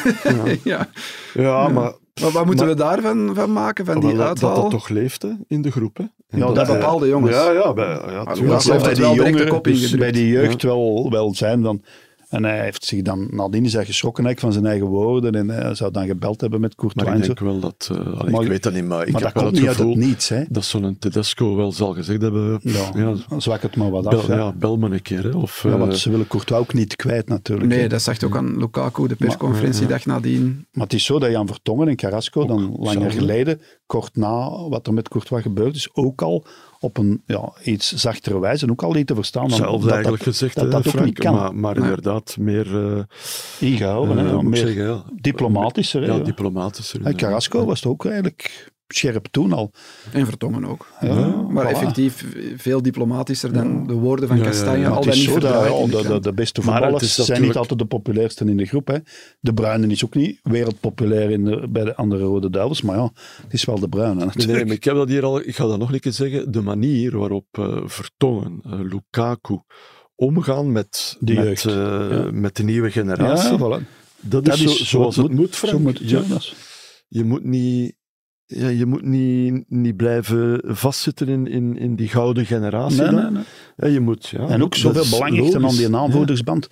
Speaker 3: Ja.
Speaker 1: Ja, maar
Speaker 3: Maar wat moeten
Speaker 1: Maar- Oh,
Speaker 3: we daarvan van maken, van die
Speaker 1: Wel, dat, dat
Speaker 3: uithaal?
Speaker 1: dat toch leefde in de groep. Hè? En
Speaker 2: dat
Speaker 3: Bij
Speaker 2: eh,
Speaker 3: bepaalde jongens.
Speaker 1: Ja, ja, bij, ja
Speaker 3: Maar
Speaker 1: tuurlijk.
Speaker 3: Laat
Speaker 2: dat
Speaker 3: heeft
Speaker 2: bij
Speaker 3: het
Speaker 2: die
Speaker 3: wel direct de
Speaker 2: jongeren,
Speaker 3: kop
Speaker 2: dus
Speaker 3: ingedrukt.
Speaker 2: bij die jeugd wel, wel zijn dan. En hij heeft zich dan nadien zijn geschrokken eigenlijk van zijn eigen woorden en hij zou dan gebeld hebben met
Speaker 1: Maar
Speaker 2: Courtois.
Speaker 1: ik
Speaker 2: en zo.
Speaker 1: denk wel dat... eh, allee,
Speaker 2: Maar-
Speaker 1: ik weet dat niet, maar ik
Speaker 2: Maar
Speaker 1: heb
Speaker 2: dat
Speaker 1: wel
Speaker 2: komt
Speaker 1: het
Speaker 2: niet uit het
Speaker 1: gevoel
Speaker 2: niets. Hè.
Speaker 1: dat zo'n Tedesco wel zal gezegd hebben...
Speaker 2: Ja,
Speaker 1: pff, Ja,
Speaker 2: zwak het maar wat af.
Speaker 1: bel,
Speaker 2: hè.
Speaker 1: ja, bel me een keer. Hè, of,
Speaker 2: Ja,
Speaker 1: eh,
Speaker 2: want ze willen Courtois ook niet kwijt natuurlijk. hè.
Speaker 3: Nee, dat zegt ook aan Lukaku, de persconferentie dag nadien.
Speaker 2: Maar het is zo dat Jan Vertongen en Carrasco dan langer
Speaker 1: hetzelfde.
Speaker 2: geleden, kort na wat er met Courtois gebeurd is, ook al op een ja, iets zachtere wijze, en ook al niet te verstaan. dan
Speaker 1: Hetzelfde
Speaker 2: dat
Speaker 1: eigenlijk
Speaker 2: dat,
Speaker 1: gezegd,
Speaker 2: dat,
Speaker 1: hè,
Speaker 2: dat ook
Speaker 1: Frank,
Speaker 2: niet kan.
Speaker 1: Maar, maar inderdaad, meer, eh,
Speaker 2: Ingehouden,
Speaker 1: eh,
Speaker 2: hè,
Speaker 1: moet ik
Speaker 2: meer
Speaker 1: zeggen, ja.
Speaker 2: diplomatischer. hè,
Speaker 1: Ja,
Speaker 2: ja.
Speaker 1: diplomatischer.
Speaker 2: En
Speaker 1: inderdaad.
Speaker 2: Carrasco was het ook eigenlijk scherp toen al.
Speaker 3: En Vertongen ook.
Speaker 2: Ja,
Speaker 3: Maar
Speaker 2: voilà.
Speaker 3: effectief veel diplomatischer dan de woorden van
Speaker 1: Ja, ja, ja.
Speaker 3: Kastanje.
Speaker 1: Maar
Speaker 3: Al
Speaker 2: Het
Speaker 3: dan
Speaker 2: is
Speaker 3: niet
Speaker 2: zo dat
Speaker 3: verdraaid
Speaker 2: ja,
Speaker 3: in de
Speaker 2: de, de,
Speaker 3: krant.
Speaker 2: de beste
Speaker 1: Maar het
Speaker 2: voetballers
Speaker 1: is
Speaker 2: zijn niet
Speaker 1: natuurlijk-
Speaker 2: altijd de populairste in de groep. Hè. De Bruyne is ook niet wereldpopulair in de, bij de andere Rode Duivels, maar ja, het is wel de Bruyne
Speaker 1: Nee, nee,
Speaker 2: natuurlijk.
Speaker 1: maar ik, heb dat hier al, ik ga dat nog een keer zeggen. De manier waarop eh, Vertongen, eh, Lukaku omgaan met,
Speaker 2: De
Speaker 1: met,
Speaker 2: jeugd,
Speaker 1: eh,
Speaker 2: ja.
Speaker 1: met de nieuwe generatie.
Speaker 2: ja, voilà.
Speaker 1: dat,
Speaker 2: Dat
Speaker 1: is, zo-
Speaker 2: is
Speaker 1: zoals
Speaker 2: wat
Speaker 1: het moet, Frank.
Speaker 2: Zo moet het, ja,
Speaker 1: Je-
Speaker 2: dat is-
Speaker 1: je moet niet, ja, je moet niet, niet blijven vastzitten in, in, in die gouden generatie.
Speaker 2: Nee,
Speaker 1: dan.
Speaker 2: nee, nee.
Speaker 1: Ja, je moet, ja,
Speaker 2: En ook
Speaker 1: dat
Speaker 2: zoveel
Speaker 1: is
Speaker 2: belang hechten aan
Speaker 1: logisch.
Speaker 2: die
Speaker 1: Ja.
Speaker 2: aanvoerdersband.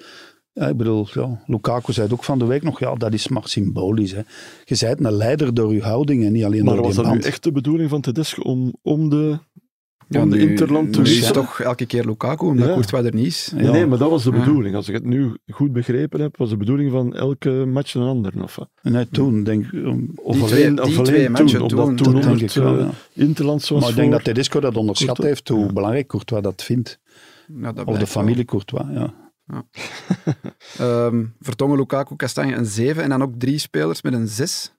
Speaker 2: Ja, ik bedoel, ja, Lukaku zei het ook van de week nog, ja, dat is maar symbolisch. Hè. Je bent een leider door je houding en niet alleen
Speaker 1: Maar
Speaker 2: door
Speaker 1: was
Speaker 2: die
Speaker 1: dat nu
Speaker 2: band.
Speaker 1: echt de bedoeling van Tedesco om, om de,
Speaker 3: Ja,
Speaker 1: om de
Speaker 3: nu-
Speaker 1: Interland te
Speaker 3: nu is
Speaker 1: wisselen?
Speaker 3: het toch elke keer Lukaku, omdat
Speaker 1: Ja.
Speaker 3: Courtois er niet is.
Speaker 1: Nee,
Speaker 2: Ja.
Speaker 1: nee, maar dat was de
Speaker 3: Ja.
Speaker 1: bedoeling. Als ik het nu goed begrepen heb, was de bedoeling van elke match een ander. Of, wat?
Speaker 2: Nee, toen, denk ik. um,
Speaker 1: of
Speaker 3: Die
Speaker 1: alleen,
Speaker 3: twee-
Speaker 1: of
Speaker 3: die
Speaker 1: alleen
Speaker 3: twee matchen
Speaker 1: toen,
Speaker 3: toen,
Speaker 1: omdat
Speaker 3: dat
Speaker 1: toen
Speaker 2: denk
Speaker 1: onder
Speaker 2: ik
Speaker 1: het
Speaker 2: wel,
Speaker 1: eh,
Speaker 2: ja.
Speaker 1: Interlands was
Speaker 2: Maar ik denk
Speaker 1: voor.
Speaker 2: dat Tedesco dat onderschat
Speaker 1: Courtois.
Speaker 2: heeft, hoe belangrijk Courtois dat vindt.
Speaker 3: Nou, dat
Speaker 2: Of de
Speaker 3: blijkt wel.
Speaker 2: familie Courtois, ja.
Speaker 3: Ehm, Vertongen, Lukaku, Kastanje een 7. En dan ook drie spelers met een 6.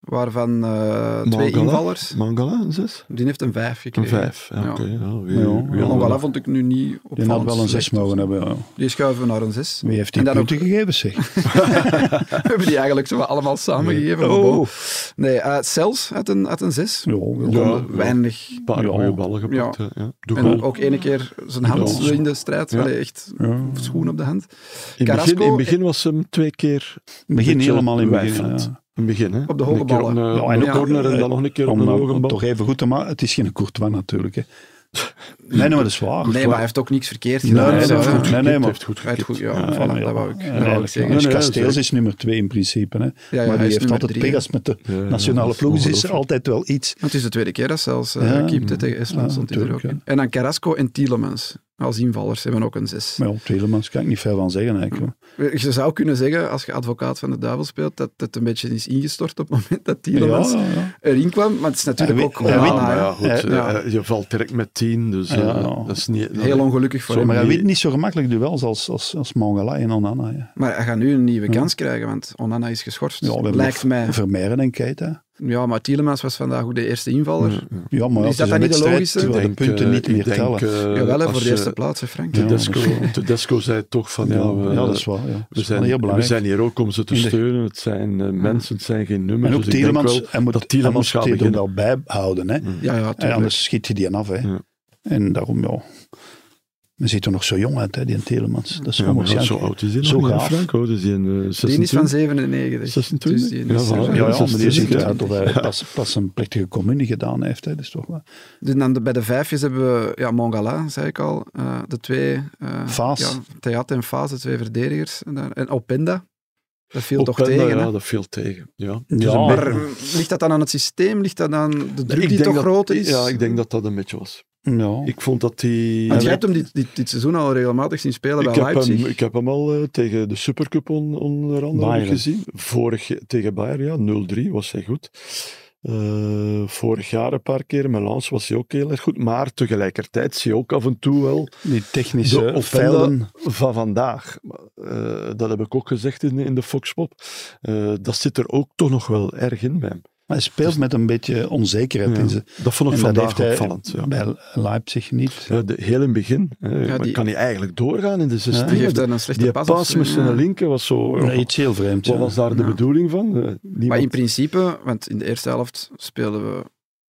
Speaker 3: Waarvan eh, twee
Speaker 1: Mangala.
Speaker 3: invallers.
Speaker 1: Mangala, een zes?
Speaker 3: Die heeft een 5
Speaker 1: Een
Speaker 3: gekregen.
Speaker 1: vijf. Ja,
Speaker 3: Ja.
Speaker 1: oké. ja, wie-
Speaker 2: Ja,
Speaker 1: wie
Speaker 2: ja,
Speaker 1: had
Speaker 3: Mangala
Speaker 1: dat?
Speaker 3: vond ik nu niet
Speaker 2: Die had
Speaker 3: opvallend
Speaker 2: wel een
Speaker 3: slecht.
Speaker 2: 6 mogen hebben. ja.
Speaker 3: Die schuiven we naar een 6.
Speaker 2: Wie heeft die
Speaker 3: En dan ook-
Speaker 2: punten gegeven, zeg?
Speaker 3: We hebben die eigenlijk zo wat allemaal samengegeven. maar bon. Nee, eh, Cels had een, had een 6.
Speaker 2: Oh. Ja,
Speaker 1: Ja.
Speaker 3: Weinig.
Speaker 1: Een paar
Speaker 2: Ja.
Speaker 1: mooie ballen gepakt.
Speaker 3: Ja.
Speaker 1: Ja. Ja. Doe
Speaker 3: En
Speaker 1: goal.
Speaker 3: ook ene keer zijn hand
Speaker 1: Ja.
Speaker 3: zo in de strijd.
Speaker 1: Ja.
Speaker 3: Allee, echt
Speaker 2: ja.
Speaker 3: schoen op de hand.
Speaker 1: In het
Speaker 3: Carrasco-
Speaker 1: begin, in het begin was hem twee keer
Speaker 2: Het begin
Speaker 1: beetje
Speaker 2: helemaal in het begin.
Speaker 1: weifelend.
Speaker 2: ja.
Speaker 1: in het begin, hè?
Speaker 3: Op de hoge
Speaker 1: Een keer op
Speaker 3: ballen.
Speaker 1: een,
Speaker 2: Ja, en
Speaker 1: op een
Speaker 3: ook-
Speaker 1: corner en dan nog een keer op
Speaker 2: Om
Speaker 1: een
Speaker 2: nou
Speaker 1: hoge bal.
Speaker 2: toch even goed te maken, het is geen Courtois natuurlijk. Hè. Nee, nee, maar dat is waar.
Speaker 3: Nee, maar hij heeft ook niks verkeerd gedaan.
Speaker 2: Nee, nee,
Speaker 3: Hij
Speaker 2: dat
Speaker 3: zou-
Speaker 2: is goed. nee, nee,
Speaker 1: Hij
Speaker 2: maar-
Speaker 1: heeft goed
Speaker 3: Hij heeft goed,
Speaker 1: gekipt.
Speaker 3: ja,
Speaker 2: Ja,
Speaker 3: voilà,
Speaker 2: maar ja.
Speaker 3: dat wou ik, dat
Speaker 2: En
Speaker 3: wou ik
Speaker 2: eigenlijk,
Speaker 3: zeggen.
Speaker 2: ja, dus
Speaker 1: Nee, nee,
Speaker 2: Kasteels
Speaker 1: zeker.
Speaker 2: is nummer twee in principe. Hè.
Speaker 3: ja,
Speaker 2: maar
Speaker 3: hij
Speaker 2: die
Speaker 3: is
Speaker 2: heeft
Speaker 3: nummer
Speaker 2: altijd
Speaker 3: drie,
Speaker 2: pegas met de
Speaker 1: Ja, ja, dat
Speaker 2: nationale
Speaker 1: is
Speaker 2: ploeg. Dus is er
Speaker 1: ongelooflijk.
Speaker 2: altijd wel iets.
Speaker 3: Want het is de tweede keer dat zelfs eh
Speaker 2: Ja,
Speaker 3: keepte
Speaker 2: ja.
Speaker 3: tegen Estland.
Speaker 2: Ja,
Speaker 3: stond hij er ook
Speaker 2: natuurlijk,
Speaker 3: in. En dan Carrasco en Tielemans. Als invallers hebben ook een 6.
Speaker 2: Maar ja, op Telemans kan ik niet veel van zeggen eigenlijk. hoor.
Speaker 3: Je zou kunnen zeggen, als je advocaat van de duivel speelt, dat het een beetje is ingestort op het moment dat
Speaker 2: Ja,
Speaker 3: Tielemans
Speaker 2: ja, ja.
Speaker 3: erin kwam. Maar het is natuurlijk
Speaker 2: Hij
Speaker 3: ook
Speaker 2: wint- hij
Speaker 1: Ja,
Speaker 2: wint,
Speaker 3: Onana,
Speaker 1: maar
Speaker 3: hè.
Speaker 1: ja, goed, eh,
Speaker 3: Ja.
Speaker 1: eh, je valt direct met tien, dus eh,
Speaker 2: Ja.
Speaker 1: dat is niet... dat-
Speaker 3: Heel ongelukkig voor
Speaker 1: Zo,
Speaker 3: hem.
Speaker 2: Maar hij
Speaker 1: Die-
Speaker 2: wint niet zo gemakkelijk duels als, als, als Mangala en Onana. Ja,
Speaker 3: Maar hij gaat nu een nieuwe kans krijgen, want Onana is geschorst.
Speaker 2: ja we hebben
Speaker 3: Lijkt
Speaker 2: nog
Speaker 3: mij.
Speaker 2: Vermeeren en Keita.
Speaker 3: Ja, maar Tielemans was vandaag ook de eerste invaller.
Speaker 2: Ja, maar
Speaker 3: Is
Speaker 2: het
Speaker 3: dat
Speaker 2: een
Speaker 3: dan niet de
Speaker 2: wedstrijd
Speaker 3: logische?
Speaker 2: terwijl de
Speaker 1: denk,
Speaker 2: punten
Speaker 1: eh,
Speaker 2: niet
Speaker 1: ik
Speaker 2: meer
Speaker 1: denk,
Speaker 2: tellen.
Speaker 1: eh,
Speaker 3: Jawel, hè, voor
Speaker 1: als,
Speaker 3: de eerste
Speaker 1: eh,
Speaker 3: plaats, hè, Frank.
Speaker 2: Ja.
Speaker 1: Tedesco,
Speaker 2: dat
Speaker 1: Tedesco zei toch van, ja, we,
Speaker 2: ja, dat is waar. Ja.
Speaker 1: we,
Speaker 2: Dat is wel
Speaker 1: zijn,
Speaker 2: heel
Speaker 1: we
Speaker 2: belangrijk.
Speaker 1: zijn hier ook om ze te
Speaker 2: In de-
Speaker 1: steunen. Het zijn eh, mensen, het zijn geen nummers.
Speaker 2: en ook
Speaker 1: Dus ik denk
Speaker 2: Tielemans,
Speaker 1: wel
Speaker 2: hij moet,
Speaker 1: dat
Speaker 2: hij moet
Speaker 1: Tielemans gaat
Speaker 2: Steven
Speaker 1: beginnen. Mm.
Speaker 2: wel bijhouden. Hè?
Speaker 3: Ja, ja,
Speaker 2: En
Speaker 3: tuurlijk.
Speaker 2: anders schiet hij die af. Hè?
Speaker 1: Ja.
Speaker 2: En daarom, ja. Men ziet er nog zo jong uit, hè, die Telemans. Dat is
Speaker 1: Ja, maar ja, zo
Speaker 2: onwaarschijnlijk.
Speaker 1: oud is hij
Speaker 2: Zo
Speaker 1: nog niet, hè,
Speaker 2: gaaf.
Speaker 1: Frank. hoor. Dus die in, eh,
Speaker 3: Die is
Speaker 1: 26.
Speaker 3: van 97.
Speaker 1: 26?
Speaker 3: Dus die
Speaker 1: Ja,
Speaker 3: is
Speaker 1: voilà.
Speaker 2: Ja,
Speaker 3: er-
Speaker 2: ja, maar die
Speaker 1: 26,
Speaker 2: ziet
Speaker 1: ja.
Speaker 2: eruit of hij pas, pas een plechtige communie gedaan heeft. Hè. Dat is toch wel...
Speaker 3: Dus dan de- bij de vijfjes hebben we ja, Mongala, zei ik al. eh, de twee... eh
Speaker 2: Faas.
Speaker 3: Ja, Theat en Faas, de twee verdedigers. En, dan- en Openda. Dat viel toch
Speaker 1: Openda,
Speaker 3: tegen, hè?
Speaker 1: Ja, dat viel tegen. Ja.
Speaker 2: Ja,
Speaker 1: een
Speaker 2: maar-
Speaker 1: beetje-
Speaker 3: Maar ligt dat dan aan het systeem? Ligt dat aan de druk
Speaker 1: Ik
Speaker 3: die
Speaker 1: denk
Speaker 3: toch
Speaker 1: dat-
Speaker 3: groter is?
Speaker 1: Ja, ik denk dat dat een beetje was.
Speaker 2: Ja.
Speaker 1: Ik vond dat die...
Speaker 3: Want jij hebt hem dit, dit, dit seizoen al regelmatig zien spelen
Speaker 1: Ik
Speaker 3: bij
Speaker 1: heb, hem,
Speaker 3: Leipzig.
Speaker 1: ik heb hem al eh, tegen de Supercup on, onder andere heb ik
Speaker 2: Bayern.
Speaker 1: gezien. Vorig, jaar- tegen Bayern, ja, 0-3 was hij goed. Eh, vorig jaar een paar keer, met Lens was hij ook heel erg goed. Maar tegelijkertijd zie je ook af en toe wel
Speaker 2: Die
Speaker 1: de
Speaker 2: technische
Speaker 1: Openda
Speaker 2: velden.
Speaker 1: van vandaag. Eh, dat heb ik ook gezegd in, in de Foxpop. Eh, dat zit er ook toch nog wel erg in bij hem.
Speaker 2: Hij speelt met een beetje onzekerheid
Speaker 1: Dus- Ja,
Speaker 2: in zijn...
Speaker 1: Dat eh, vond ik
Speaker 2: En dat
Speaker 1: vandaag
Speaker 2: heeft hij
Speaker 1: opvallend. Ja.
Speaker 2: Bij Leipzig niet.
Speaker 1: Ja, de, heel in het begin. Hè, maar
Speaker 3: die-
Speaker 1: kan hij eigenlijk doorgaan in de 16?
Speaker 3: Die geeft
Speaker 1: Die,
Speaker 3: daar een slechte pas.
Speaker 1: pas,
Speaker 3: op,
Speaker 1: met zijn
Speaker 3: ja.
Speaker 1: linker was zo...
Speaker 2: Nee, iets heel vreemd.
Speaker 1: Oh. Wat
Speaker 2: ja.
Speaker 1: was daar de
Speaker 3: Ja.
Speaker 1: bedoeling van? Eh, niemand-
Speaker 3: Maar in principe, want in de eerste helft speelden we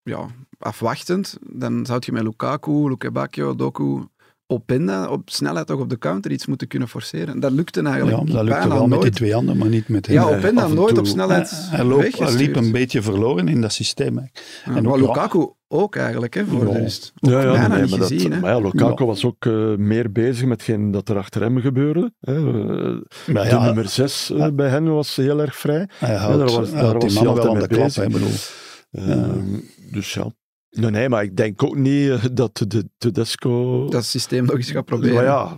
Speaker 3: ja, afwachtend. Dan zou je met Lukaku, Lukebakio, Doku, Openda op snelheid toch op de counter iets moeten kunnen forceren. Dat lukte
Speaker 2: Ja,
Speaker 3: eigenlijk
Speaker 2: dat lukte
Speaker 3: bijna
Speaker 2: wel met die
Speaker 3: nooit.
Speaker 2: twee handen, maar niet met hem.
Speaker 3: ja,
Speaker 1: eh,
Speaker 3: Openda
Speaker 1: af en
Speaker 3: nooit
Speaker 1: toe.
Speaker 3: op
Speaker 2: Hij,
Speaker 3: snelheid
Speaker 2: hij loopt- hij liep
Speaker 3: weggestuurd.
Speaker 2: een beetje verloren in dat systeem. hè.
Speaker 3: Ja,
Speaker 2: en
Speaker 3: maar
Speaker 2: ook-
Speaker 3: Lukaku ook eigenlijk, hè, voor
Speaker 2: Ja.
Speaker 3: de rest.
Speaker 1: Ja, ja,
Speaker 3: bijna
Speaker 1: nee,
Speaker 3: niet
Speaker 1: maar, dat-
Speaker 3: gezien, hè.
Speaker 1: maar ja, Lukaku
Speaker 2: Ja.
Speaker 1: was ook eh, meer bezig met geen dat er achter hem gebeurde. Hè. Eh,
Speaker 2: Maar
Speaker 1: de
Speaker 2: ja,
Speaker 1: nummer 6
Speaker 2: ja.
Speaker 1: bij hen was heel erg vrij.
Speaker 2: Hij
Speaker 1: daar
Speaker 2: houdt,
Speaker 1: was-
Speaker 2: hij
Speaker 1: daar
Speaker 2: houdt
Speaker 1: was
Speaker 2: die
Speaker 1: hij
Speaker 2: mannen wel aan de
Speaker 1: altijd mee
Speaker 2: klap.
Speaker 1: bezig.
Speaker 2: hè, Ik bedoel,
Speaker 1: Ehm, dus ja. Nee, nee, maar ik denk ook niet eh, dat de Tedesco...
Speaker 3: Dat systeem nog eens gaat proberen.
Speaker 1: maar ja,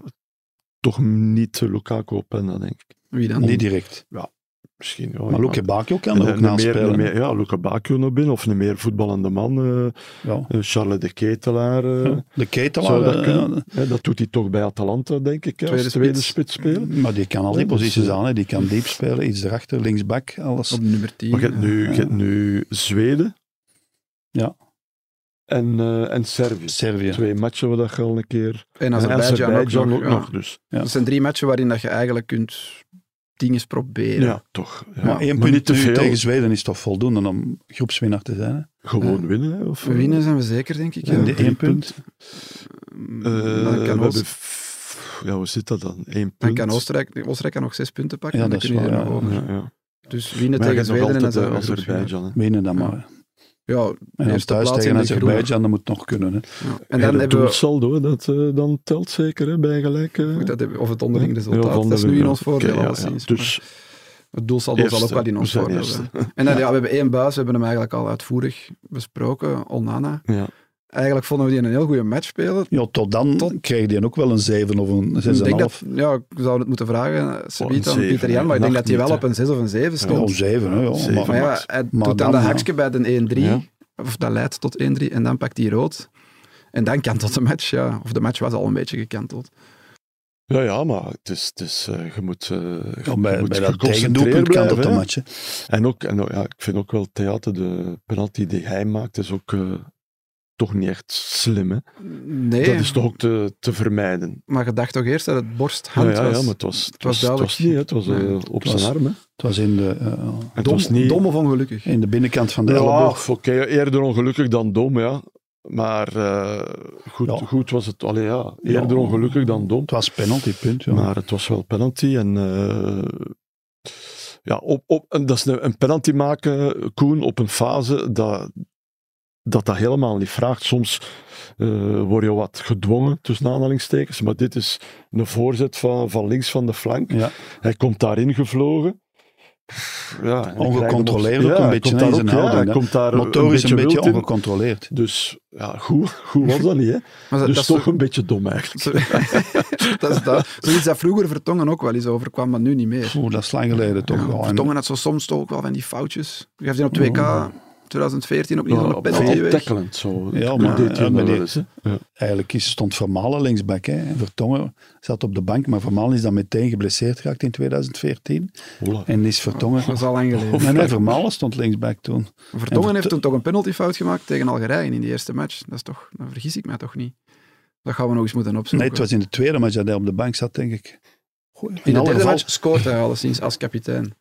Speaker 1: toch niet eh, Lukaku op en dat denk ik.
Speaker 3: Wie dan?
Speaker 2: niet direct.
Speaker 1: Misschien wel.
Speaker 2: Maar
Speaker 1: Oh, ja.
Speaker 2: Luke Bakio
Speaker 1: En
Speaker 2: kan er ook
Speaker 1: een
Speaker 2: naast
Speaker 1: meer, een
Speaker 2: spelen.
Speaker 1: meer, ja, Luca Bacchio nog binnen, of een meer voetballende man. eh,
Speaker 2: Ja.
Speaker 1: eh, Charles de Ketelaar. eh,
Speaker 2: Ja. De
Speaker 1: Zou dat
Speaker 2: ketelaar, eh,
Speaker 1: kunnen? Hè, dat doet hij toch bij Atalanta, denk ik. Hè,
Speaker 3: Tweede
Speaker 1: als tweede
Speaker 3: spits.
Speaker 1: spits spelen.
Speaker 2: maar die kan al die
Speaker 1: Ja, dus,
Speaker 2: posities
Speaker 1: eh,
Speaker 2: aan. hè. Die kan diep spelen, iets erachter, linksback, alles.
Speaker 3: Op nummer 10.
Speaker 1: Maar je hebt nu, je hebt nu Zweden.
Speaker 2: Ja.
Speaker 1: En, eh, en Servië.
Speaker 2: Servië.
Speaker 1: Twee matchen we dat al een keer.
Speaker 3: En
Speaker 1: en
Speaker 3: Azerbeidzjan ook, nog, ja.
Speaker 1: Dus
Speaker 3: Dat zijn drie matchen waarin dat je eigenlijk kunt dingen
Speaker 1: ja,
Speaker 3: proberen.
Speaker 1: toch. Ja.
Speaker 2: Maar één
Speaker 1: Maar niet
Speaker 2: punt
Speaker 1: te
Speaker 2: nu
Speaker 1: veel.
Speaker 2: tegen Zweden is toch voldoende om groepswinnaar te zijn. hè?
Speaker 1: Gewoon winnen. Hè, of, eh?
Speaker 3: We Winnen zijn we zeker, denk ik.
Speaker 1: Ja,
Speaker 3: Ja. Mm,
Speaker 2: En die
Speaker 1: drie
Speaker 2: één punt.
Speaker 1: e- eh,
Speaker 3: dan kan
Speaker 1: we
Speaker 3: Oost-
Speaker 1: hebben f- ja, hoe zit dat dan? Eén punt.
Speaker 3: Dan kan Oostenrijk, Oostenrijk kan nog zes punten pakken.
Speaker 2: Ja,
Speaker 3: en dan
Speaker 2: dat is
Speaker 3: kunnen die
Speaker 2: waar,
Speaker 3: er nog
Speaker 1: Ja,
Speaker 3: over.
Speaker 1: ja.
Speaker 3: Dus winnen
Speaker 1: Maar je
Speaker 3: tegen
Speaker 1: hebt nog
Speaker 3: Zweden en dan
Speaker 1: altijd
Speaker 3: zijn
Speaker 1: eh,
Speaker 3: we groepswinnaar.
Speaker 1: Azerbeidzjan. hè.
Speaker 2: Winnen dan maar.
Speaker 3: Ja,
Speaker 2: En dan
Speaker 3: Eerste
Speaker 2: thuis
Speaker 3: plaats in
Speaker 2: tegen
Speaker 3: de
Speaker 2: Azerbeidzjan, dat moet nog kunnen. Hè.
Speaker 3: ja. En dan hebben we...
Speaker 1: doelsaldo, hè, dat eh, dan telt zeker hè, bij gelijk. eh,
Speaker 3: Goed, dat hebben we- Of het onderling
Speaker 1: heel
Speaker 3: resultaat.
Speaker 1: van
Speaker 3: Dat is
Speaker 1: de
Speaker 3: nu in
Speaker 1: winnaar.
Speaker 3: ons voordeel,
Speaker 1: Oké, ja, ja.
Speaker 3: alleszins.
Speaker 1: Dus
Speaker 3: Maar Het doelsaldo zal ook
Speaker 1: eerste.
Speaker 3: wel in
Speaker 1: We
Speaker 3: ons
Speaker 1: zijn
Speaker 3: voordeel
Speaker 1: eerste.
Speaker 3: zijn. En dan, ja, we hebben één buis. We hebben hem eigenlijk al uitvoerig besproken. Onana.
Speaker 1: Ja.
Speaker 3: Eigenlijk vonden we die een heel goede match spelen.
Speaker 2: Ja, tot dan
Speaker 3: Tot-
Speaker 2: kreeg hij ook wel een 7 of een 6,5.
Speaker 3: Ik denk dat, ja, ik zou het moeten vragen, Sabita, aan
Speaker 1: Oh, zeven,
Speaker 3: Pieter Jan,
Speaker 1: hè.
Speaker 3: maar ik denk
Speaker 1: Nacht
Speaker 3: dat hij wel
Speaker 1: niet,
Speaker 3: op een 6 of een 7
Speaker 2: Ja,
Speaker 3: stond.
Speaker 2: of 7, hè, ja.
Speaker 1: Zeven.
Speaker 2: Maar,
Speaker 3: maar ja,
Speaker 1: max.
Speaker 3: hij
Speaker 2: Maar
Speaker 3: doet dan
Speaker 2: dan,
Speaker 3: dat
Speaker 2: ja.
Speaker 3: haksje bij de 1-3,
Speaker 1: Ja.
Speaker 3: of dat leidt tot 1-3, en dan pakt hij rood. En dan kantelt de match, ja. Of de match was al een beetje gekanteld.
Speaker 1: Ja, ja, maar het is, het is, eh, je moet, eh, je
Speaker 2: ja, bij,
Speaker 1: moet
Speaker 2: bij dat
Speaker 1: geconcentreerd
Speaker 2: tegendoelpunt kan dat
Speaker 1: blijven,
Speaker 2: de
Speaker 1: hè.
Speaker 2: match. hè.
Speaker 1: En ook, en ook- ja, ik vind ook wel theater, de penalty die hij maakt, is ook eh, toch niet echt slim. Hè?
Speaker 3: Nee,
Speaker 1: Dat is toch ook te, te vermijden.
Speaker 3: maar je dacht toch eerst dat het
Speaker 1: Ja,
Speaker 3: borsthand
Speaker 1: ja, ja,
Speaker 3: was.
Speaker 1: maar het was, het
Speaker 3: was
Speaker 1: was, het was niet, hè. het was eh,
Speaker 3: Nee.
Speaker 1: op
Speaker 2: Het
Speaker 1: zijn
Speaker 2: was-
Speaker 1: arm. Hè? En
Speaker 2: Het was in de, eh,
Speaker 1: het
Speaker 3: dom,
Speaker 1: was niet,
Speaker 3: dom of ongelukkig.
Speaker 2: in de binnenkant van de
Speaker 1: Ja,
Speaker 2: elleboog.
Speaker 1: oké, eerder ongelukkig dan dom, ja. Maar eh, goed,
Speaker 2: Ja.
Speaker 1: goed was het, allee, ja, eerder
Speaker 2: Ja.
Speaker 1: ongelukkig dan dom.
Speaker 2: Het was penaltypunt, ja.
Speaker 1: Maar het was wel penalty. En eh, ja, op, op, en dat is een, een penalty maken, Koen, op een fase dat dat, dat helemaal niet vraagt. Soms eh, word je wat gedwongen, tussen aanhalingstekens. Maar dit is een voorzet van, van links van de flank.
Speaker 2: Ja.
Speaker 1: Hij komt daarin gevlogen. Ja, en hij
Speaker 2: Ongecontroleerd
Speaker 1: krijgt hem op-
Speaker 2: ook een
Speaker 1: hij
Speaker 2: beetje,
Speaker 1: komt
Speaker 2: hè,
Speaker 1: daar
Speaker 2: in
Speaker 1: ook-
Speaker 2: zijn
Speaker 1: ja,
Speaker 2: houding,
Speaker 1: hij
Speaker 2: hè.
Speaker 1: komt daar
Speaker 2: Motorisch een beetje
Speaker 1: wild in.
Speaker 2: ongecontroleerd.
Speaker 1: Dus ja, goed, goed was dat niet. Hè?
Speaker 3: Maar dat,
Speaker 1: Dus
Speaker 3: dat is
Speaker 1: toch
Speaker 3: zo-
Speaker 1: een beetje dom eigenlijk.
Speaker 3: zo- dat is dat. Zoiets dat vroeger Vertongen ook wel eens overkwam, maar nu niet meer.
Speaker 2: Oeh, dat is lang geleden toch.
Speaker 3: Ja,
Speaker 2: wel. En
Speaker 3: Vertongen had zo soms toch ook wel van die foutjes. Je hebt die op 2K 2014 opnieuw
Speaker 1: Ja,
Speaker 3: aan de penalty
Speaker 1: Veel
Speaker 3: weg.
Speaker 1: tackelend zo.
Speaker 2: Ja,
Speaker 1: Dat
Speaker 2: maar-
Speaker 1: deed hij
Speaker 2: ja,
Speaker 1: nog
Speaker 2: maar
Speaker 1: wel
Speaker 2: die-
Speaker 1: eens, hè. Ja.
Speaker 2: Eigenlijk is, stond Vermalen linksback. Hè. Vertongen zat op de bank, maar Vermalen is dan meteen geblesseerd geraakt in 2014.
Speaker 1: Voilà.
Speaker 2: En is Vertongen...
Speaker 3: Dat is al lang geleden.
Speaker 2: Nee, nee, Vermalen stond linksback toen.
Speaker 3: Vertongen
Speaker 2: En
Speaker 3: heeft
Speaker 2: Vert-
Speaker 3: toen toch een penaltyfout gemaakt tegen Algerije in die eerste match. Dat is toch, dan vergis ik mij toch niet. Dat gaan we nog eens moeten opzoeken.
Speaker 2: Nee, het was in de tweede match dat hij op de bank zat, denk ik. Goh,
Speaker 3: in de
Speaker 2: alle
Speaker 3: derde
Speaker 2: geval-
Speaker 3: match scoort hij alleszins als kapitein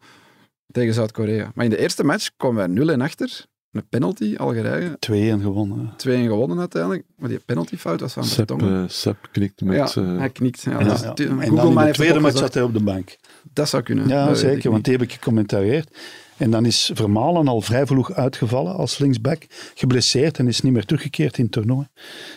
Speaker 3: tegen Zuid-Korea. Maar in de eerste match kwamen wij 0-1 achter. Een penalty, Algerije.
Speaker 2: 2-1 gewonnen. hè.
Speaker 3: 2-1 gewonnen uiteindelijk. Maar die penaltyfout was van
Speaker 1: Sepp,
Speaker 3: Vertongen.
Speaker 1: eh, Sepp knikt
Speaker 3: Ja,
Speaker 1: met... eh,
Speaker 3: hij knikt. Ja,
Speaker 2: Ja,
Speaker 3: dus
Speaker 2: ja.
Speaker 3: tu-
Speaker 2: En
Speaker 3: Google
Speaker 2: dan in
Speaker 3: mij
Speaker 2: de
Speaker 3: heeft
Speaker 2: tweede
Speaker 3: het
Speaker 2: match
Speaker 3: opgezocht.
Speaker 2: zat hij op de bank.
Speaker 3: Dat zou kunnen.
Speaker 2: Ja,
Speaker 3: Dat weet ik
Speaker 2: zeker, want
Speaker 3: niet.
Speaker 2: die heb ik gecommentarieerd. En dan is Vermalen al vrij vroeg uitgevallen als linksback, geblesseerd en is niet meer teruggekeerd in het toernooi.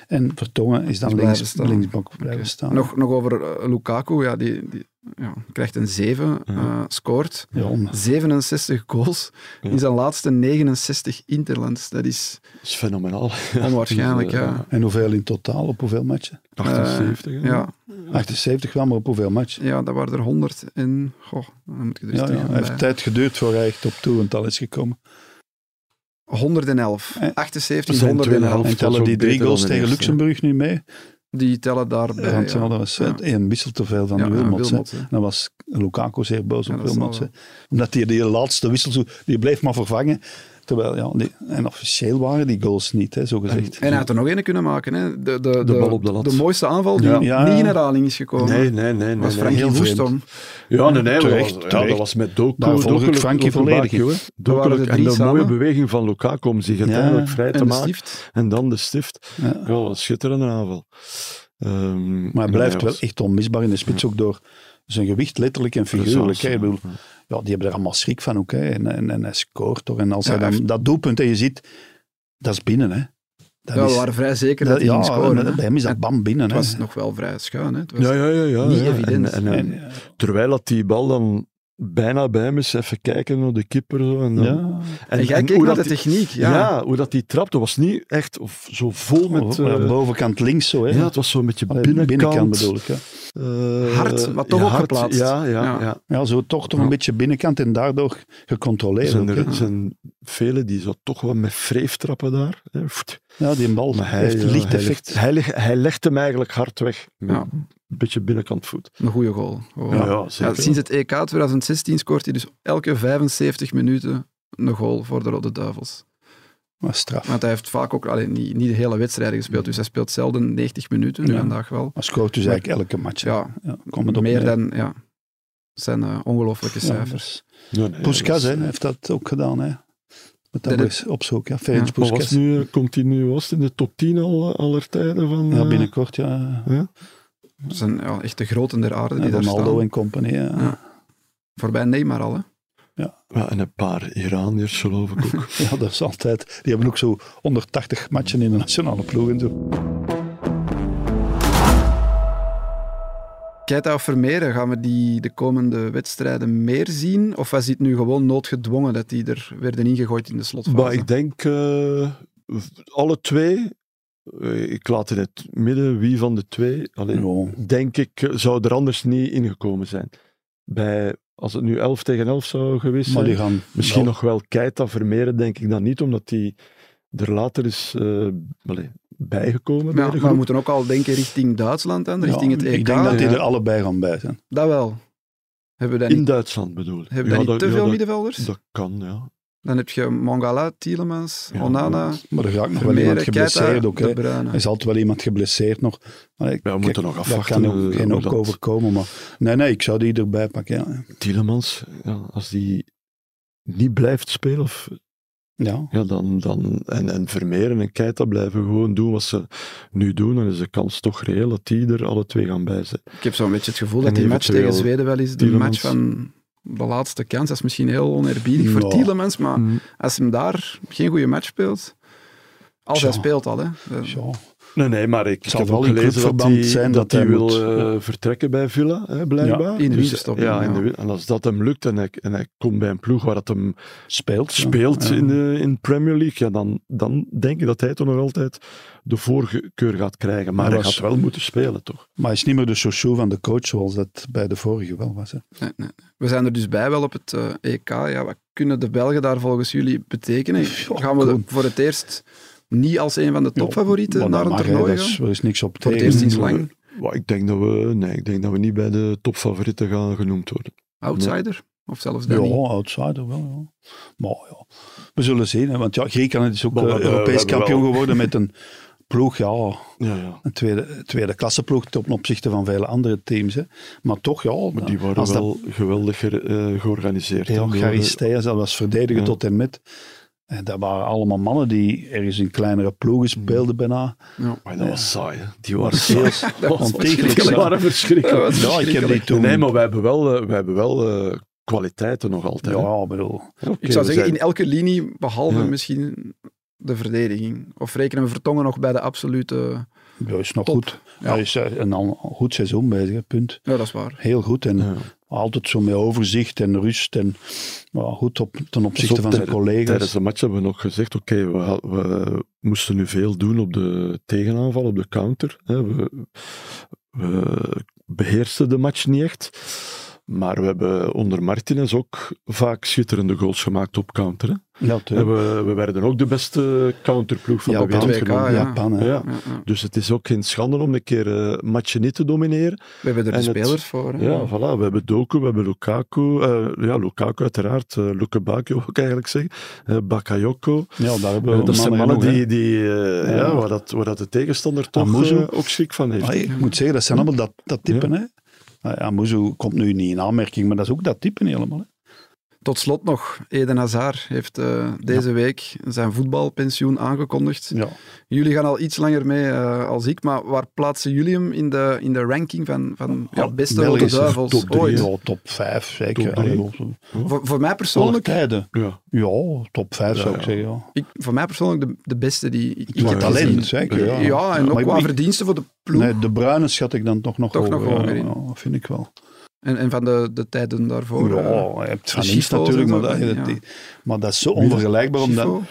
Speaker 2: En Vertongen is dan
Speaker 3: Is blijven
Speaker 2: links,
Speaker 3: staan.
Speaker 2: linksbak blijven staan.
Speaker 3: nog, nog over eh, Lukaku. Ja, die, die ja, krijgt een 7, eh, scoort.
Speaker 2: Ja, om-
Speaker 3: 67 goals in zijn laatste 69 interlands. Dat is
Speaker 1: Dat is fenomenaal.
Speaker 3: onwaarschijnlijk,
Speaker 1: Eh,
Speaker 3: ja. Eh,
Speaker 2: En hoeveel in totaal? Op hoeveel matchen?
Speaker 1: 78, hè.
Speaker 3: Ja,
Speaker 2: 78 wel, maar op hoeveel matchen?
Speaker 3: ja, dat waren er 100 en... Goh, dan moet ik er dus
Speaker 2: Ja, ja.
Speaker 3: tegen
Speaker 2: Het heeft
Speaker 3: bij.
Speaker 2: tijd geduurd voor hij echt op toewental is gekomen.
Speaker 3: 111.
Speaker 2: Eh,
Speaker 3: 78,
Speaker 1: zijn
Speaker 3: 111.
Speaker 1: tweeënhalf.
Speaker 2: En
Speaker 1: dat is
Speaker 2: tellen
Speaker 1: ook
Speaker 2: die drie
Speaker 1: beter
Speaker 2: goals
Speaker 1: dan de
Speaker 2: tegen
Speaker 1: eerste,
Speaker 2: Luxemburg nu mee?
Speaker 3: Die tellen daarbij.
Speaker 2: Want ja,
Speaker 3: ja.
Speaker 2: dat was
Speaker 3: Ja.
Speaker 2: eh, één wissel te veel van
Speaker 3: Ja,
Speaker 2: Wilmots. hè.
Speaker 3: Wilmots, hè.
Speaker 2: En Dan was Lukaku zeer boos
Speaker 3: Ja,
Speaker 2: op
Speaker 3: dat zal
Speaker 2: Wilmots. hè.
Speaker 3: wel.
Speaker 2: Omdat hij die laatste wissel, zo- die bleef maar vervangen. Terwijl, ja, die, en officieel waren die goals niet, hè, zo gezegd.
Speaker 3: En hij had er nog één kunnen maken. Hè. De, de, de,
Speaker 1: bal op de lat.
Speaker 3: mooiste aanval die
Speaker 2: Ja. Ja.
Speaker 3: niet in herhaling is gekomen.
Speaker 1: Nee, nee, nee. nee,
Speaker 3: was
Speaker 1: nee.
Speaker 3: Frankie
Speaker 2: heel vreemd.
Speaker 3: Woestom.
Speaker 1: Ja, nee, nee.
Speaker 2: Terecht,
Speaker 1: dat, was, ja,
Speaker 2: terecht.
Speaker 1: dat was met Doku.
Speaker 2: Daar volg ik
Speaker 1: Dokelijk
Speaker 2: Frankie
Speaker 1: op een
Speaker 2: volledig
Speaker 1: baakje,
Speaker 2: in.
Speaker 1: hè.
Speaker 3: Dat waren
Speaker 1: Dokelijk
Speaker 3: de
Speaker 1: en
Speaker 3: drie
Speaker 1: de mooie
Speaker 3: samen.
Speaker 1: beweging van Lukaku om zich uiteindelijk vrij te
Speaker 3: En de
Speaker 1: maken.
Speaker 3: stift.
Speaker 1: En dan de stift.
Speaker 2: Ja.
Speaker 1: Ja, wat een schitterende aanval. Ehm,
Speaker 2: Maar hij blijft
Speaker 1: nee,
Speaker 2: wel
Speaker 1: was-
Speaker 2: echt onmisbaar in de spits, ook door zijn gewicht, letterlijk en figuurlijk. hè. Ik bedoel, ja, die hebben er allemaal schrik van ook. Hè. En, en, en hij scoort toch. En als
Speaker 3: Ja,
Speaker 2: hij dan
Speaker 3: hij heeft-
Speaker 2: dat doelpunt en je ziet, dat is binnen. Hè. Dat
Speaker 3: Ja, we
Speaker 2: is,
Speaker 3: waren vrij zeker
Speaker 2: dat-
Speaker 3: dat, hij
Speaker 2: ja,
Speaker 3: ging scoren. hè.
Speaker 2: bij hem is dat
Speaker 3: En
Speaker 2: bam binnen.
Speaker 3: Het
Speaker 2: hè.
Speaker 3: was nog wel vrij schuin. Hè. Het was
Speaker 1: Ja, ja, ja. ja,
Speaker 3: niet
Speaker 1: ja.
Speaker 3: evident.
Speaker 1: En, en,
Speaker 2: En,
Speaker 1: en
Speaker 3: eh,
Speaker 1: terwijl dat die bal dan bijna bij hem is, even kijken naar de keeper. Zo, en, dan,
Speaker 2: ja,
Speaker 3: En, jij
Speaker 1: en
Speaker 3: keek
Speaker 1: hoe
Speaker 3: naar de
Speaker 1: dat die-
Speaker 3: techniek.
Speaker 1: ja.
Speaker 3: Ja.
Speaker 1: hoe dat die trapte was niet echt of, zo vol met...
Speaker 2: Oh,
Speaker 1: eh,
Speaker 2: bovenkant links zo. Hè.
Speaker 1: ja, het was zo met je
Speaker 2: Allee,
Speaker 1: binnenkant.
Speaker 2: bedoel ik. Hè.
Speaker 1: Eh,
Speaker 3: Hard, maar toch
Speaker 1: ja,
Speaker 3: ook
Speaker 1: hard,
Speaker 3: geplaatst.
Speaker 1: Ja, ja,
Speaker 3: Ja.
Speaker 1: ja.
Speaker 2: Ja, zo toch toch een
Speaker 3: Ja.
Speaker 2: beetje binnenkant en daardoor
Speaker 1: Er
Speaker 2: gecontroleerd.
Speaker 1: zijn,
Speaker 2: ook, hè.
Speaker 1: er zijn velen die zo toch wel met wreef trappen daar. hè. Pfft.
Speaker 2: Ja, die bal
Speaker 1: Maar hij,
Speaker 2: heeft
Speaker 1: ja,
Speaker 2: licht
Speaker 1: hij
Speaker 2: effect.
Speaker 1: legt- Hij, leg- hij legt hem eigenlijk hard weg.
Speaker 3: Ja.
Speaker 1: Een beetje binnenkant voet.
Speaker 3: Een goede goal. Gewoon.
Speaker 1: Ja, ja,
Speaker 3: Ja,
Speaker 1: zeker.
Speaker 3: sinds het EK 2016 scoort hij dus elke 75 minuten een goal voor de Rode Duivels.
Speaker 2: Maar straf.
Speaker 3: Want hij heeft vaak ook alleen niet, niet de hele wedstrijd gespeeld. Dus hij speelt zelden 90 minuten, nu
Speaker 2: Ja.
Speaker 3: vandaag wel.
Speaker 2: Maar scoort dus
Speaker 3: Maar-
Speaker 2: eigenlijk elke match. hè.
Speaker 3: Ja,
Speaker 2: Ja, kom het op
Speaker 3: meer
Speaker 2: neer.
Speaker 3: dan... Ja. Het zijn eh, ongelooflijke
Speaker 2: Ja,
Speaker 3: cijfers.
Speaker 2: dus-
Speaker 1: Nee, nee,
Speaker 2: Puskas
Speaker 1: dat
Speaker 2: hè,
Speaker 1: is-
Speaker 2: heeft dat ook gedaan. Hè. Met
Speaker 3: Dat
Speaker 2: dat eens opzoeken. Ja. Ferenc
Speaker 3: Ja.
Speaker 1: Maar was
Speaker 2: Puskas.
Speaker 1: nu, eh, komt hij nu was in de top 10 al, eh, aller tijden van...
Speaker 2: Ja,
Speaker 1: eh,
Speaker 2: binnenkort, ja.
Speaker 3: Dat zijn ja, echt de groten der aarde die
Speaker 2: En
Speaker 3: daar
Speaker 2: Ronaldo
Speaker 3: staan.
Speaker 2: en compagnie. Ja.
Speaker 3: Ja. Voorbij Neymar al, hè.
Speaker 1: ja, en een paar Iraniërs geloof ik ook.
Speaker 2: Ja, dat is altijd. Die hebben ook zo 180 matchen in de nationale ploeg en zo.
Speaker 3: Keita of Vermeeren, gaan we die de komende wedstrijden meer zien? Of was dit nu gewoon noodgedwongen dat die er werden ingegooid in de slotfase?
Speaker 1: maar ik denk, eh, alle twee... eh, Ik laat in het midden wie van de twee. Alleen,
Speaker 2: Ja.
Speaker 1: denk ik, eh, zou er anders niet ingekomen zijn. Bij, als het nu 11 tegen 11 zou geweest
Speaker 2: Maar
Speaker 1: zijn,
Speaker 2: die gaan
Speaker 1: eh, misschien
Speaker 2: wel-
Speaker 1: nog wel Keita vermeren, denk ik dan niet, omdat die er later is eh, allee, bijgekomen. bij
Speaker 3: Ja,
Speaker 1: de
Speaker 3: maar we
Speaker 1: groep.
Speaker 3: moeten ook al denken richting Duitsland en richting
Speaker 2: Ja,
Speaker 3: het EK.
Speaker 2: Ik denk dat die
Speaker 1: Ja.
Speaker 2: er allebei gaan bij zijn.
Speaker 3: Dat wel. Hebben we dan
Speaker 1: In
Speaker 3: niet,
Speaker 1: Duitsland bedoel ik.
Speaker 3: hebben we dan niet te
Speaker 1: ja,
Speaker 3: veel
Speaker 1: dat,
Speaker 3: middenvelders?
Speaker 1: dat kan, ja.
Speaker 3: Dan heb je Mangala, Tielemans,
Speaker 1: Ja,
Speaker 3: Onana,
Speaker 2: Maar er gaat nog wel
Speaker 3: Vermeeren,
Speaker 2: iemand
Speaker 3: Keita,
Speaker 2: geblesseerd ook. hè.
Speaker 3: De Bruyne.
Speaker 2: Er is altijd wel iemand geblesseerd nog. Maar ik-
Speaker 1: Ja, we
Speaker 2: kijk,
Speaker 1: moeten nog
Speaker 2: dat
Speaker 1: afwachten.
Speaker 2: kan ook,
Speaker 1: eh,
Speaker 2: geen
Speaker 1: hoe
Speaker 2: ook
Speaker 1: dat-
Speaker 2: overkomen. Maar nee, nee, ik zou die erbij pakken. Ja,
Speaker 1: Tielemans, ja, als die niet blijft spelen, of,
Speaker 2: ja.
Speaker 1: ja, dan, dan, en, en Vermeeren en Keita blijven gewoon doen wat ze nu doen, dan is de kans toch reëel dat die er alle twee gaan bij zijn.
Speaker 3: Ik heb zo'n beetje het gevoel
Speaker 1: En
Speaker 3: dat die match tegen
Speaker 1: eventueel
Speaker 3: Zweden wel is de match
Speaker 1: Tielemans.
Speaker 3: van de laatste kans. Dat is misschien heel oneerbiedig voor
Speaker 2: Ja. Mm.
Speaker 3: Tielemans, maar als hem daar geen goede match speelt... Als hij
Speaker 2: Tja.
Speaker 3: speelt al, hè. Eh,
Speaker 2: Ja.
Speaker 1: Nee, nee, maar ik, ik
Speaker 2: zal
Speaker 1: heb
Speaker 2: wel
Speaker 1: wel
Speaker 2: in
Speaker 1: gelezen dat
Speaker 2: clubverband
Speaker 1: hij,
Speaker 2: zijn
Speaker 1: dat
Speaker 2: dat
Speaker 1: hij
Speaker 2: hij
Speaker 1: wil
Speaker 2: moet,
Speaker 1: eh, vertrekken bij Villa, hè, blijkbaar.
Speaker 3: in de
Speaker 1: Dus,
Speaker 3: winterstop,
Speaker 1: Ja, in
Speaker 3: ja.
Speaker 1: de win- en als dat hem lukt en hij, en hij komt bij een ploeg waar dat hem
Speaker 2: Speelt. ja.
Speaker 1: speelt
Speaker 2: Ja.
Speaker 1: in de in de Premier League, ja, dan, dan denk ik dat hij toch nog altijd de voorkeur gaat krijgen. Maar
Speaker 2: Hij
Speaker 1: hij
Speaker 2: was-
Speaker 1: gaat wel moeten spelen, toch?
Speaker 2: Maar hij is niet meer de chouchou van de coach zoals dat bij de vorige wel was. Hè.
Speaker 3: Nee, nee. We zijn er dus bij wel op het eh, EK. Ja, wat kunnen de Belgen daar volgens jullie betekenen?
Speaker 2: Goh,
Speaker 3: Gaan we
Speaker 2: kom.
Speaker 3: voor het eerst niet als een van de topfavorieten
Speaker 2: Maar dat
Speaker 3: eh, naar een
Speaker 2: mag, hè,
Speaker 3: toernooi
Speaker 2: dat is-
Speaker 3: gaan?
Speaker 2: Er is niks op
Speaker 3: Voor het
Speaker 2: tegen.
Speaker 3: eerst sinds lang.
Speaker 1: Wa- Ik denk dat we, nee, ik denk dat we niet bij de topfavorieten gaan genoemd worden.
Speaker 3: Outsider? Of zelfs
Speaker 2: Ja,
Speaker 3: dat niet?
Speaker 2: outsider wel. Ja. Maar ja, we zullen zien. Hè, want ja, Griekenland is ook
Speaker 1: Maar we
Speaker 2: eh,
Speaker 1: hebben- we
Speaker 2: Europees
Speaker 1: hebben
Speaker 2: kampioen
Speaker 1: wel-
Speaker 2: geworden met een ploeg, ja,
Speaker 1: Ja, ja.
Speaker 2: een tweede, tweede klasse ploeg ten opzichte van vele andere teams. Hè. Maar toch, ja,
Speaker 1: Maar die waren
Speaker 2: als dat
Speaker 1: wel geweldig ge- eh, georganiseerd. hè. eh,
Speaker 2: Ja,
Speaker 1: Die
Speaker 2: Charisteas, dat was verdedigen
Speaker 1: Ja.
Speaker 2: tot en met. En dat waren allemaal mannen die ergens in kleinere ploegen speelden bijna.
Speaker 3: Ja.
Speaker 1: waren- Maar dat was saai, hè. Die waren
Speaker 2: Dat was heel
Speaker 3: Dat was
Speaker 2: ontegelijk.
Speaker 1: Die waren verschrikkelijk.
Speaker 3: Dat was
Speaker 2: Ja, ik heb die toen...
Speaker 1: Nee, maar wij hebben wel, eh, wij hebben wel eh, kwaliteiten nog altijd. hè.
Speaker 2: Ja, ik bedoel...
Speaker 1: Oké,
Speaker 3: Ik zou
Speaker 1: we
Speaker 3: zeggen, in
Speaker 1: zijn-
Speaker 3: elke linie, behalve
Speaker 1: Ja.
Speaker 3: misschien de verdediging. Of rekenen we Vertongen nog bij de absolute...
Speaker 2: Ja, is nog
Speaker 3: Top.
Speaker 2: goed.
Speaker 3: Ja.
Speaker 2: Hij is eh, een al- goed seizoen bezig, hè, punt.
Speaker 3: Ja, dat is waar.
Speaker 2: Heel goed en
Speaker 1: Ja.
Speaker 2: altijd zo met overzicht en rust en ja, goed op, ten opzichte
Speaker 1: Pas op,
Speaker 2: van
Speaker 1: tijden-
Speaker 2: zijn
Speaker 1: Tijdens
Speaker 2: collega's.
Speaker 1: de match hebben we nog gezegd, oké, we, ha- we moesten nu veel doen op de tegenaanval, op de counter. Hè. We, we beheersten de match niet echt. Maar we hebben onder Martinez ook vaak schitterende goals gemaakt op counter. Hè.
Speaker 2: Ja,
Speaker 1: En
Speaker 2: tuurlijk.
Speaker 1: we, we werden ook de beste counterploeg van de
Speaker 2: Japan,
Speaker 1: wereld.
Speaker 3: het WK,
Speaker 2: gewonnen.
Speaker 3: ja.
Speaker 2: Japan, hè.
Speaker 1: Ja.
Speaker 3: Ja, ja.
Speaker 1: Dus het is ook geen schande om een keer eh matchen niet te domineren.
Speaker 3: We hebben er de
Speaker 1: En het-
Speaker 3: spelers voor. hè.
Speaker 1: Ja, voilà. We hebben Doku, we hebben Lukaku. eh, ja, Lukaku uiteraard. eh Lukebaki wil ik eigenlijk zeggen. eh, Bakayoko.
Speaker 2: ja, daar hebben
Speaker 1: Eh,
Speaker 2: we
Speaker 1: dat zijn mannen
Speaker 2: genoeg,
Speaker 1: die,
Speaker 2: hè.
Speaker 1: die, eh,
Speaker 2: Ja.
Speaker 1: ja. waar, dat, waar dat de tegenstander toch
Speaker 2: Amuzu.
Speaker 1: eh, ook schrik van heeft.
Speaker 2: Ah, ik moet zeggen, dat zijn allemaal dat, dat typen. Hè. Ah, ja, Muzu komt nu niet in aanmerking, maar dat is ook dat typen helemaal. Hè.
Speaker 3: Tot slot nog, Eden Hazard heeft eh, deze week zijn voetbalpensioen aangekondigd.
Speaker 2: Ja.
Speaker 3: Jullie gaan al iets langer mee eh, als ik, maar waar plaatsen jullie hem in de, in de ranking van, van ja, beste rode
Speaker 2: Belgische
Speaker 3: duivels
Speaker 2: top drie,
Speaker 3: ooit?
Speaker 2: ja, top 5 zeker.
Speaker 1: Top drie.
Speaker 2: Allee,
Speaker 3: Voor, voor mij
Speaker 2: Alle
Speaker 3: persoonlijk,
Speaker 2: tijden.
Speaker 1: Ja.
Speaker 2: Ja, top 5 zou ik
Speaker 1: ja.
Speaker 2: zeggen. Oh, Ja.
Speaker 3: ik, voor mij persoonlijk de, de beste die ik, ik
Speaker 2: Qua
Speaker 3: heb
Speaker 2: talent,
Speaker 3: gezien.
Speaker 2: zeker, ja.
Speaker 3: ja, en
Speaker 2: Maar
Speaker 3: ook
Speaker 2: ik-
Speaker 3: qua
Speaker 2: ik-
Speaker 3: verdiensten voor de ploeg.
Speaker 2: Nee, de bruine schat ik dan toch nog
Speaker 3: Toch nog
Speaker 2: hoger,
Speaker 3: hoger
Speaker 2: ja,
Speaker 3: in.
Speaker 2: ja, vind ik wel.
Speaker 3: En, en van de, de tijden daarvoor.
Speaker 2: ja,
Speaker 3: eh,
Speaker 2: je hebt Van
Speaker 3: de
Speaker 2: Imst
Speaker 3: Schiffo's
Speaker 2: natuurlijk, maar
Speaker 3: en
Speaker 2: dat, dat-
Speaker 3: zo, ja.
Speaker 2: die- maar dat is zo onvergelijkbaar. Omdat,
Speaker 3: Schifo.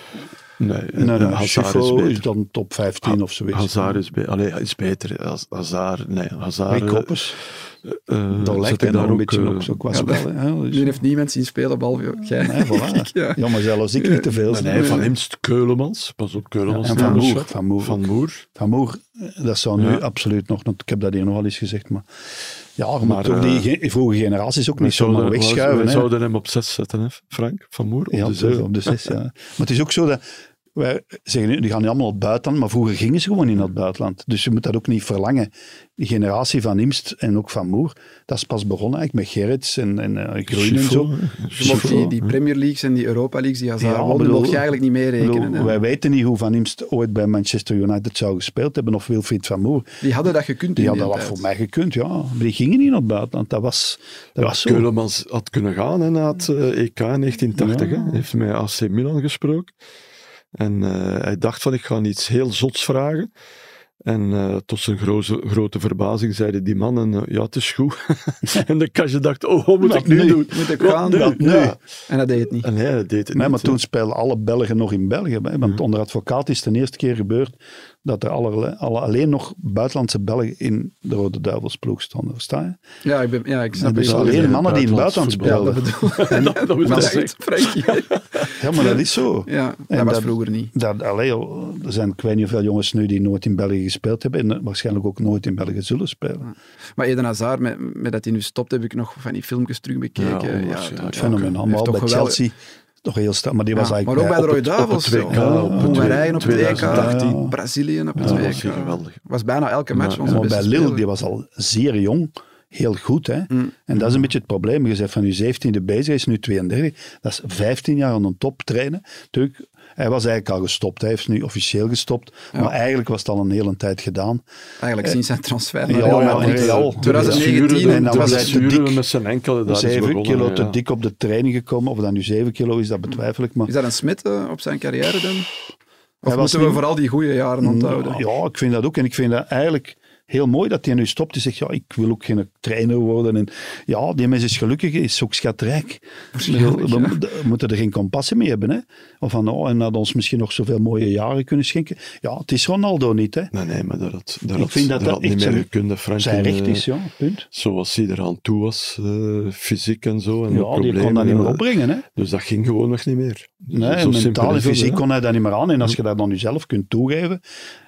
Speaker 1: Nee, en-
Speaker 2: nee,
Speaker 1: en
Speaker 2: nee,
Speaker 1: Hazard is
Speaker 2: Schiffo is,
Speaker 1: beter.
Speaker 2: dan top 15 of zoiets.
Speaker 1: Hazard is, be Allee, is beter. Haz- Hazard, nee, Hazard...
Speaker 2: Rick Koppers,
Speaker 1: eh, eh,
Speaker 2: dat
Speaker 1: zet
Speaker 2: lijkt
Speaker 1: ik
Speaker 2: hij daar
Speaker 1: daar
Speaker 2: een beetje
Speaker 1: eh,
Speaker 2: op, zo qua
Speaker 3: ja,
Speaker 2: spel. hè. Dus-
Speaker 3: Nu heeft niemand zien spelen, behalve jij.
Speaker 2: Nee, voilà.
Speaker 3: Ja.
Speaker 2: ja, maar zelfs ik niet te veel.
Speaker 1: Nee, nee, van Imst, Keulemans. Pas op, Keulemans.
Speaker 2: en
Speaker 1: is
Speaker 2: Van
Speaker 1: daar
Speaker 2: Moer.
Speaker 1: nog-
Speaker 2: Van Moer.
Speaker 1: Van Moer.
Speaker 2: Van Moer, dat zou nu
Speaker 1: Ja.
Speaker 2: absoluut nog... Ik heb dat hier nog wel eens gezegd, maar... Ja, maar,
Speaker 1: Maar,
Speaker 2: toch die
Speaker 1: eh,
Speaker 2: ge- vroege generaties ook
Speaker 1: Wij
Speaker 2: niet zomaar
Speaker 1: zouden-
Speaker 2: wegschuiven.
Speaker 1: Wij
Speaker 2: hè.
Speaker 1: zouden dus, eh, hem op zes zetten, hè, Frank. Van Moer, op
Speaker 2: ja,
Speaker 1: de
Speaker 2: op de-
Speaker 1: zes.
Speaker 2: op de zes, ja. Maar het is ook zo dat... Wij zeggen nu, die gaan nu allemaal naar het buitenland, maar vroeger gingen ze gewoon in het buitenland. Dus je moet dat ook niet verlangen. Die generatie van Imst en ook van Moer, dat is pas begonnen eigenlijk met Gerrits en, en eh, Groen en
Speaker 1: Schifo,
Speaker 2: zo.
Speaker 1: hè.
Speaker 3: Je mocht
Speaker 1: Schifo.
Speaker 3: die, die Premier Leagues en die Europa Leagues die Hazard
Speaker 2: Ja,
Speaker 3: won, die
Speaker 2: bedoel-
Speaker 3: Eh, mocht je eigenlijk niet
Speaker 2: Ik bedoel,
Speaker 3: meerekenen. hè.
Speaker 2: wij weten niet hoe Van Imst ooit bij Manchester United zou gespeeld hebben of Wilfried van Moer.
Speaker 3: Die hadden dat gekund
Speaker 2: Die
Speaker 3: in die
Speaker 2: hadden dat
Speaker 3: tijd.
Speaker 2: voor mij gekund, ja. Maar Die gingen niet naar het buitenland. Dat was, dat was zo.
Speaker 1: Keulemans had kunnen gaan hè, na het eh, EK in 1980. hè. Hij heeft met AC Milan gesproken. En eh, hij dacht van, ik ga iets heel zots vragen. En eh, tot zijn groze, grote verbazing zeiden die mannen, eh, ja, het is goed. en de kastje dacht, oh, wat moet
Speaker 2: Wat
Speaker 1: ik nu
Speaker 2: nu?
Speaker 1: doen?
Speaker 3: Moet ik
Speaker 1: Wat
Speaker 3: gaan?
Speaker 1: nu?
Speaker 2: Wat nu?
Speaker 1: Ja.
Speaker 3: En dat deed het niet.
Speaker 1: En hij deed het
Speaker 2: Nee, maar
Speaker 1: niet,
Speaker 2: toen speelden alle Belgen nog in België. Hè,
Speaker 3: Mhm.
Speaker 2: want onder advocaat is het de eerste keer gebeurd dat er allerlei- alle, alleen nog buitenlandse Belgen in de Rode Duivelsploeg stonden. Versta je?
Speaker 3: Ja, ik, ben, ja, ik snap
Speaker 2: Dus
Speaker 3: het.
Speaker 1: alleen
Speaker 2: alleen mannen die in het buitenland
Speaker 1: buitenlands
Speaker 3: Ja, dat
Speaker 2: speelden.
Speaker 3: bedoel
Speaker 1: hè.
Speaker 3: ik.
Speaker 1: dat, dat moet
Speaker 3: Maar
Speaker 1: ik
Speaker 3: dat is
Speaker 1: zeggen.
Speaker 3: echt, Frankie.
Speaker 2: Ja, maar dat is zo.
Speaker 3: Ja, dat
Speaker 2: En
Speaker 3: was
Speaker 2: dat-
Speaker 3: vroeger niet.
Speaker 2: Dat, allee, joh, er zijn ik weet niet hoeveel jongens nu die nooit in België gespeeld hebben en eh, waarschijnlijk ook nooit in België zullen spelen.
Speaker 3: Maar Eden Hazard, met, met dat hij nu stopt, heb ik nog van die filmpjes terug bekeken. Ja,
Speaker 1: onwaarschijnlijk.
Speaker 3: dat-
Speaker 2: Fenomenaal.
Speaker 3: heeft
Speaker 2: Maar
Speaker 3: toch
Speaker 2: al bij
Speaker 3: geweldig-
Speaker 2: Chelsea toch heel sterk. Maar die was
Speaker 3: Ja, maar
Speaker 2: eigenlijk
Speaker 3: ook bij de
Speaker 2: op
Speaker 3: Rode
Speaker 2: het-
Speaker 3: Duivels.
Speaker 1: WK,
Speaker 3: zo.
Speaker 1: op het
Speaker 3: Hongarije op het EK.
Speaker 1: 2018.
Speaker 3: Brazilië op het
Speaker 1: Ja, dat
Speaker 3: WK.
Speaker 1: was geweldig.
Speaker 3: was bijna elke match
Speaker 1: Ja,
Speaker 3: onze
Speaker 2: Maar
Speaker 3: beste
Speaker 2: bij Lille,
Speaker 3: speler.
Speaker 2: die was al zeer jong, heel goed. Hè?
Speaker 3: Mm.
Speaker 2: En dat is een beetje het probleem. Je bent van je 17e bezig, hij is nu 32. Dat is 15 jaar aan een top trainen. Natuurlijk, hij was eigenlijk al gestopt. Hij heeft nu officieel gestopt. Maar eigenlijk was het al een hele tijd gedaan.
Speaker 3: Eigenlijk sinds zijn transfer naar
Speaker 2: Ja,
Speaker 3: Real
Speaker 2: Oh, ja,
Speaker 3: Madrid.
Speaker 2: Real.
Speaker 3: 2019
Speaker 1: en
Speaker 2: en dan
Speaker 1: dan
Speaker 2: was hij te
Speaker 1: blessure
Speaker 2: dik.
Speaker 1: met zijn enkele. Daar is
Speaker 2: 7
Speaker 1: begonnen,
Speaker 2: kilo te
Speaker 1: ja.
Speaker 2: dik op de training gekomen. Of dat nu 7 kilo is, dat betwijfel ik. Maar
Speaker 3: Is dat een smit eh, op zijn carrière dan? Of
Speaker 2: was
Speaker 3: moeten we
Speaker 2: niet-
Speaker 3: vooral die goede jaren onthouden?
Speaker 2: Mm, Ja, ik vind dat ook. En ik vind dat eigenlijk heel mooi dat hij nu stopt. Hij zegt, ja, ik wil ook geen trainer worden. En ja, die mens is gelukkig, is ook schatrijk.
Speaker 3: Waarschijnlijk,
Speaker 2: Ik bedoel,
Speaker 3: ja.
Speaker 2: we, moeten- we moeten er geen compassie mee hebben. Hè? Of van, oh, en dat ons misschien nog zoveel mooie jaren kunnen schenken. Ja, het is Ronaldo niet, hè.
Speaker 1: Nee, nee, maar dat had, dat
Speaker 2: Ik
Speaker 1: had,
Speaker 2: vind dat
Speaker 1: dat
Speaker 2: dat
Speaker 1: had niet
Speaker 2: echt
Speaker 1: meer
Speaker 2: zijn-
Speaker 1: gekund. hè, Frank,
Speaker 2: Zijn
Speaker 1: En,
Speaker 2: recht
Speaker 1: eh,
Speaker 2: is, ja, punt.
Speaker 1: Zoals hij eraan toe was, eh, fysiek en zo. En de
Speaker 2: Ja, die
Speaker 1: problemen,
Speaker 2: kon dat niet meer
Speaker 1: eh,
Speaker 2: opbrengen, hè.
Speaker 1: Dus dat ging gewoon nog niet meer. Dus zo
Speaker 2: Nee,
Speaker 1: simpel
Speaker 2: mentaal en
Speaker 1: is dat,
Speaker 2: fysiek
Speaker 1: hè.
Speaker 2: kon hij dat niet meer aan. En als je dat dan nu zelf kunt toegeven...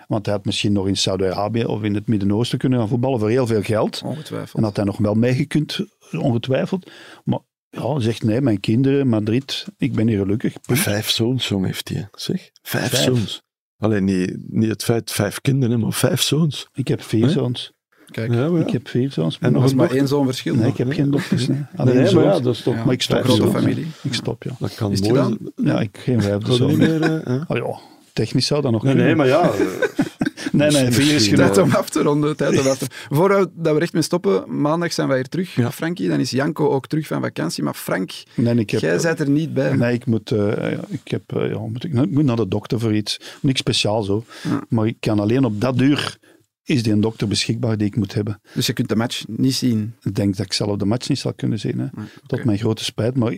Speaker 2: Want hij had misschien nog in Saudi-Arabië of in het Midden-Oosten kunnen gaan voetballen voor heel veel geld. En
Speaker 3: Ongetwijfeld.
Speaker 2: had hij nog wel meegekund, ongetwijfeld. Maar ja, hij zegt nee, mijn kinderen, Madrid, ik ben hier gelukkig.
Speaker 1: Maar Vijf zoons, jong, heeft hij. hè. Zeg, vijf,
Speaker 2: Hm? Vijf.
Speaker 1: zoons. Alleen niet, niet het feit vijf kinderen, maar vijf zoons.
Speaker 2: Ik heb vier
Speaker 1: Hè?
Speaker 2: zoons.
Speaker 3: Kijk.
Speaker 1: Ja, maar ja.
Speaker 2: Ik heb vier zoons.
Speaker 1: En
Speaker 3: Er
Speaker 2: maar,
Speaker 1: nog
Speaker 3: was
Speaker 1: een
Speaker 3: maar
Speaker 1: dochter?
Speaker 3: één zo'n verschil.
Speaker 2: nee,
Speaker 3: nog.
Speaker 2: ik heb geen dochters. Nee.
Speaker 1: Nee,
Speaker 2: Alleen
Speaker 1: nee, maar ja,
Speaker 2: zoons.
Speaker 1: dat is toch...
Speaker 3: Ja,
Speaker 2: Maar ik stop.
Speaker 3: grote
Speaker 2: zoons.
Speaker 3: familie.
Speaker 2: Ik stop, ja.
Speaker 1: Dat kan
Speaker 3: Is die
Speaker 1: mooi...
Speaker 3: dan?
Speaker 2: Ja, ik geen
Speaker 1: Dat
Speaker 2: vijfde
Speaker 1: kan
Speaker 2: zoon.
Speaker 1: niet meer, hè, hè?
Speaker 2: Ah, ja, technisch zou dat nog
Speaker 1: Nee,
Speaker 2: kunnen.
Speaker 1: nee, maar ja.
Speaker 2: nee, nee, vier is
Speaker 1: Misschien- Ja.
Speaker 2: genoeg.
Speaker 3: Tijd om af te ronden. Tijd om af te... Voordat we er echt mee stoppen, maandag zijn wij hier terug.
Speaker 1: Ja.
Speaker 3: Frankie, dan is Janko ook terug van vakantie. Maar Frank,
Speaker 2: Nee, ik heb...
Speaker 3: jij bent er niet bij.
Speaker 2: Nee, ik moet, eh, ja, ik, heb, eh, ja, moet, ik, ik moet naar de dokter voor iets. Niks speciaals hoor.
Speaker 3: Ja.
Speaker 2: Maar ik kan alleen op dat uur is die een dokter beschikbaar die ik moet hebben.
Speaker 3: Dus je kunt de match niet zien.
Speaker 2: Ik denk dat ik zelf de match niet zal kunnen zien. Hè. Tot mijn grote spijt. Maar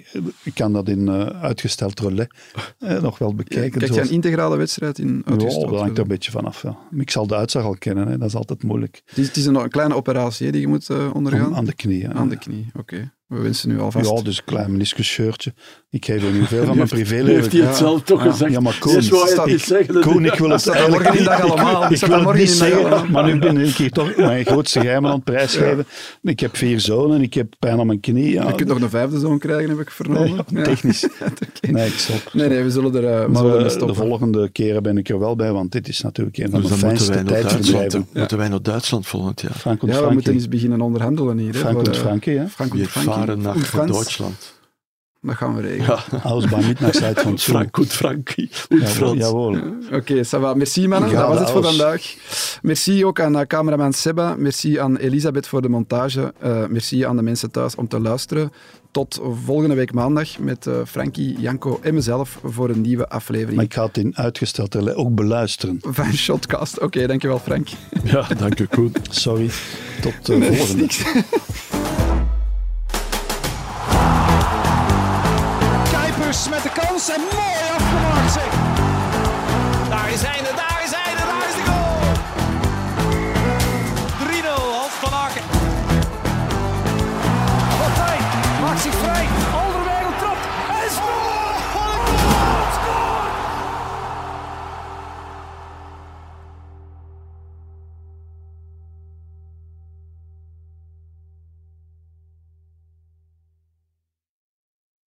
Speaker 2: ik kan dat in eh, uitgesteld relais eh, nog wel
Speaker 3: Kijk,
Speaker 2: bekijken.
Speaker 3: Kijk je
Speaker 2: zoals-
Speaker 3: een eh? integrale wedstrijd in
Speaker 2: ja,
Speaker 3: augustus?
Speaker 2: dat hangt er een beetje vanaf. Ja. Ik zal de uitslag al kennen. Hè. Dat is altijd moeilijk.
Speaker 3: Het is, het is een, een kleine operatie hè, die je moet eh,
Speaker 2: Om-
Speaker 3: ondergaan.
Speaker 2: aan de knieën.
Speaker 3: Aan de knie, oké. We wensen nu alvast.
Speaker 2: ja, dus een klein meniscusscheurtje. Ik geef er nu veel van mijn
Speaker 1: Heeft hij
Speaker 2: privéleven.
Speaker 3: die-
Speaker 1: het zelf toch
Speaker 3: Ja.
Speaker 1: gezegd?
Speaker 2: Ja, maar Koen,
Speaker 1: Eerst wou hij
Speaker 3: staat-
Speaker 1: het niet zeggen. dat-
Speaker 2: Koen, ik wil
Speaker 3: Dat
Speaker 2: het
Speaker 3: staat er
Speaker 2: eigenlijk
Speaker 3: morgen in dag
Speaker 2: niet-
Speaker 3: allemaal.
Speaker 2: ik-
Speaker 3: Dat
Speaker 2: Ik
Speaker 3: staat
Speaker 2: wil
Speaker 3: er
Speaker 2: het
Speaker 3: morgen
Speaker 2: niet
Speaker 3: in dag
Speaker 2: zeggen,
Speaker 3: allemaal.
Speaker 2: maar nu ben ik hier toch mijn grootste geheim aan het prijsgeven. Ik heb vier zonen, ik heb pijn aan mijn knie. Ja,
Speaker 3: Je kunt nog een vijfde zoon krijgen, heb ik vernomen. Ja.
Speaker 2: technisch.
Speaker 3: Oké.
Speaker 2: Nee, ik stop.
Speaker 3: Nee, nee, we zullen er, eh, we
Speaker 2: Maar
Speaker 3: zullen
Speaker 2: eh,
Speaker 3: ermee
Speaker 2: de
Speaker 3: stoppen.
Speaker 2: volgende keren ben ik er wel bij, want dit is natuurlijk een van
Speaker 1: Dus
Speaker 2: de
Speaker 1: dan moeten wij
Speaker 2: fijnste
Speaker 1: naar Duitsland.
Speaker 2: tijdsbedrijven.
Speaker 1: Moeten wij naar Duitsland volgend jaar.
Speaker 2: Frank
Speaker 3: ja,
Speaker 2: en
Speaker 3: we moeten
Speaker 2: Frankie.
Speaker 3: eens beginnen onderhandelen hier. hè,
Speaker 2: Frank
Speaker 3: voor,
Speaker 2: en
Speaker 3: eh,
Speaker 2: Frankie, hè?
Speaker 3: Frank
Speaker 1: We
Speaker 3: und Frankie.
Speaker 1: varen
Speaker 3: Und
Speaker 1: naar
Speaker 3: Franz.
Speaker 1: Duitsland.
Speaker 3: Dat gaan we regelen.
Speaker 1: Ja,
Speaker 2: Alles bij Midnight van
Speaker 1: Frank goed Frankie. Goed
Speaker 2: Jawohl.
Speaker 1: Frans.
Speaker 2: jawohl.
Speaker 3: Oké, ça va. Merci mannen,
Speaker 2: Ja,
Speaker 3: dat was het voor
Speaker 2: alles.
Speaker 3: vandaag. Merci ook aan eh, cameraman Seba, merci aan Elisabeth voor de montage, Eh, merci aan de mensen thuis om te luisteren. Tot volgende week maandag met eh, Frankie, Janko en mezelf voor een nieuwe
Speaker 2: Maar
Speaker 3: aflevering
Speaker 2: ik ga het in uitgesteld tellen, ook beluisteren.
Speaker 3: van Shotcast. Oké, dankjewel Frank.
Speaker 1: Ja, dank u Koen.
Speaker 2: Sorry. Tot de volgende.
Speaker 4: Kuipers met de kans en mooi afgemaakt zeg.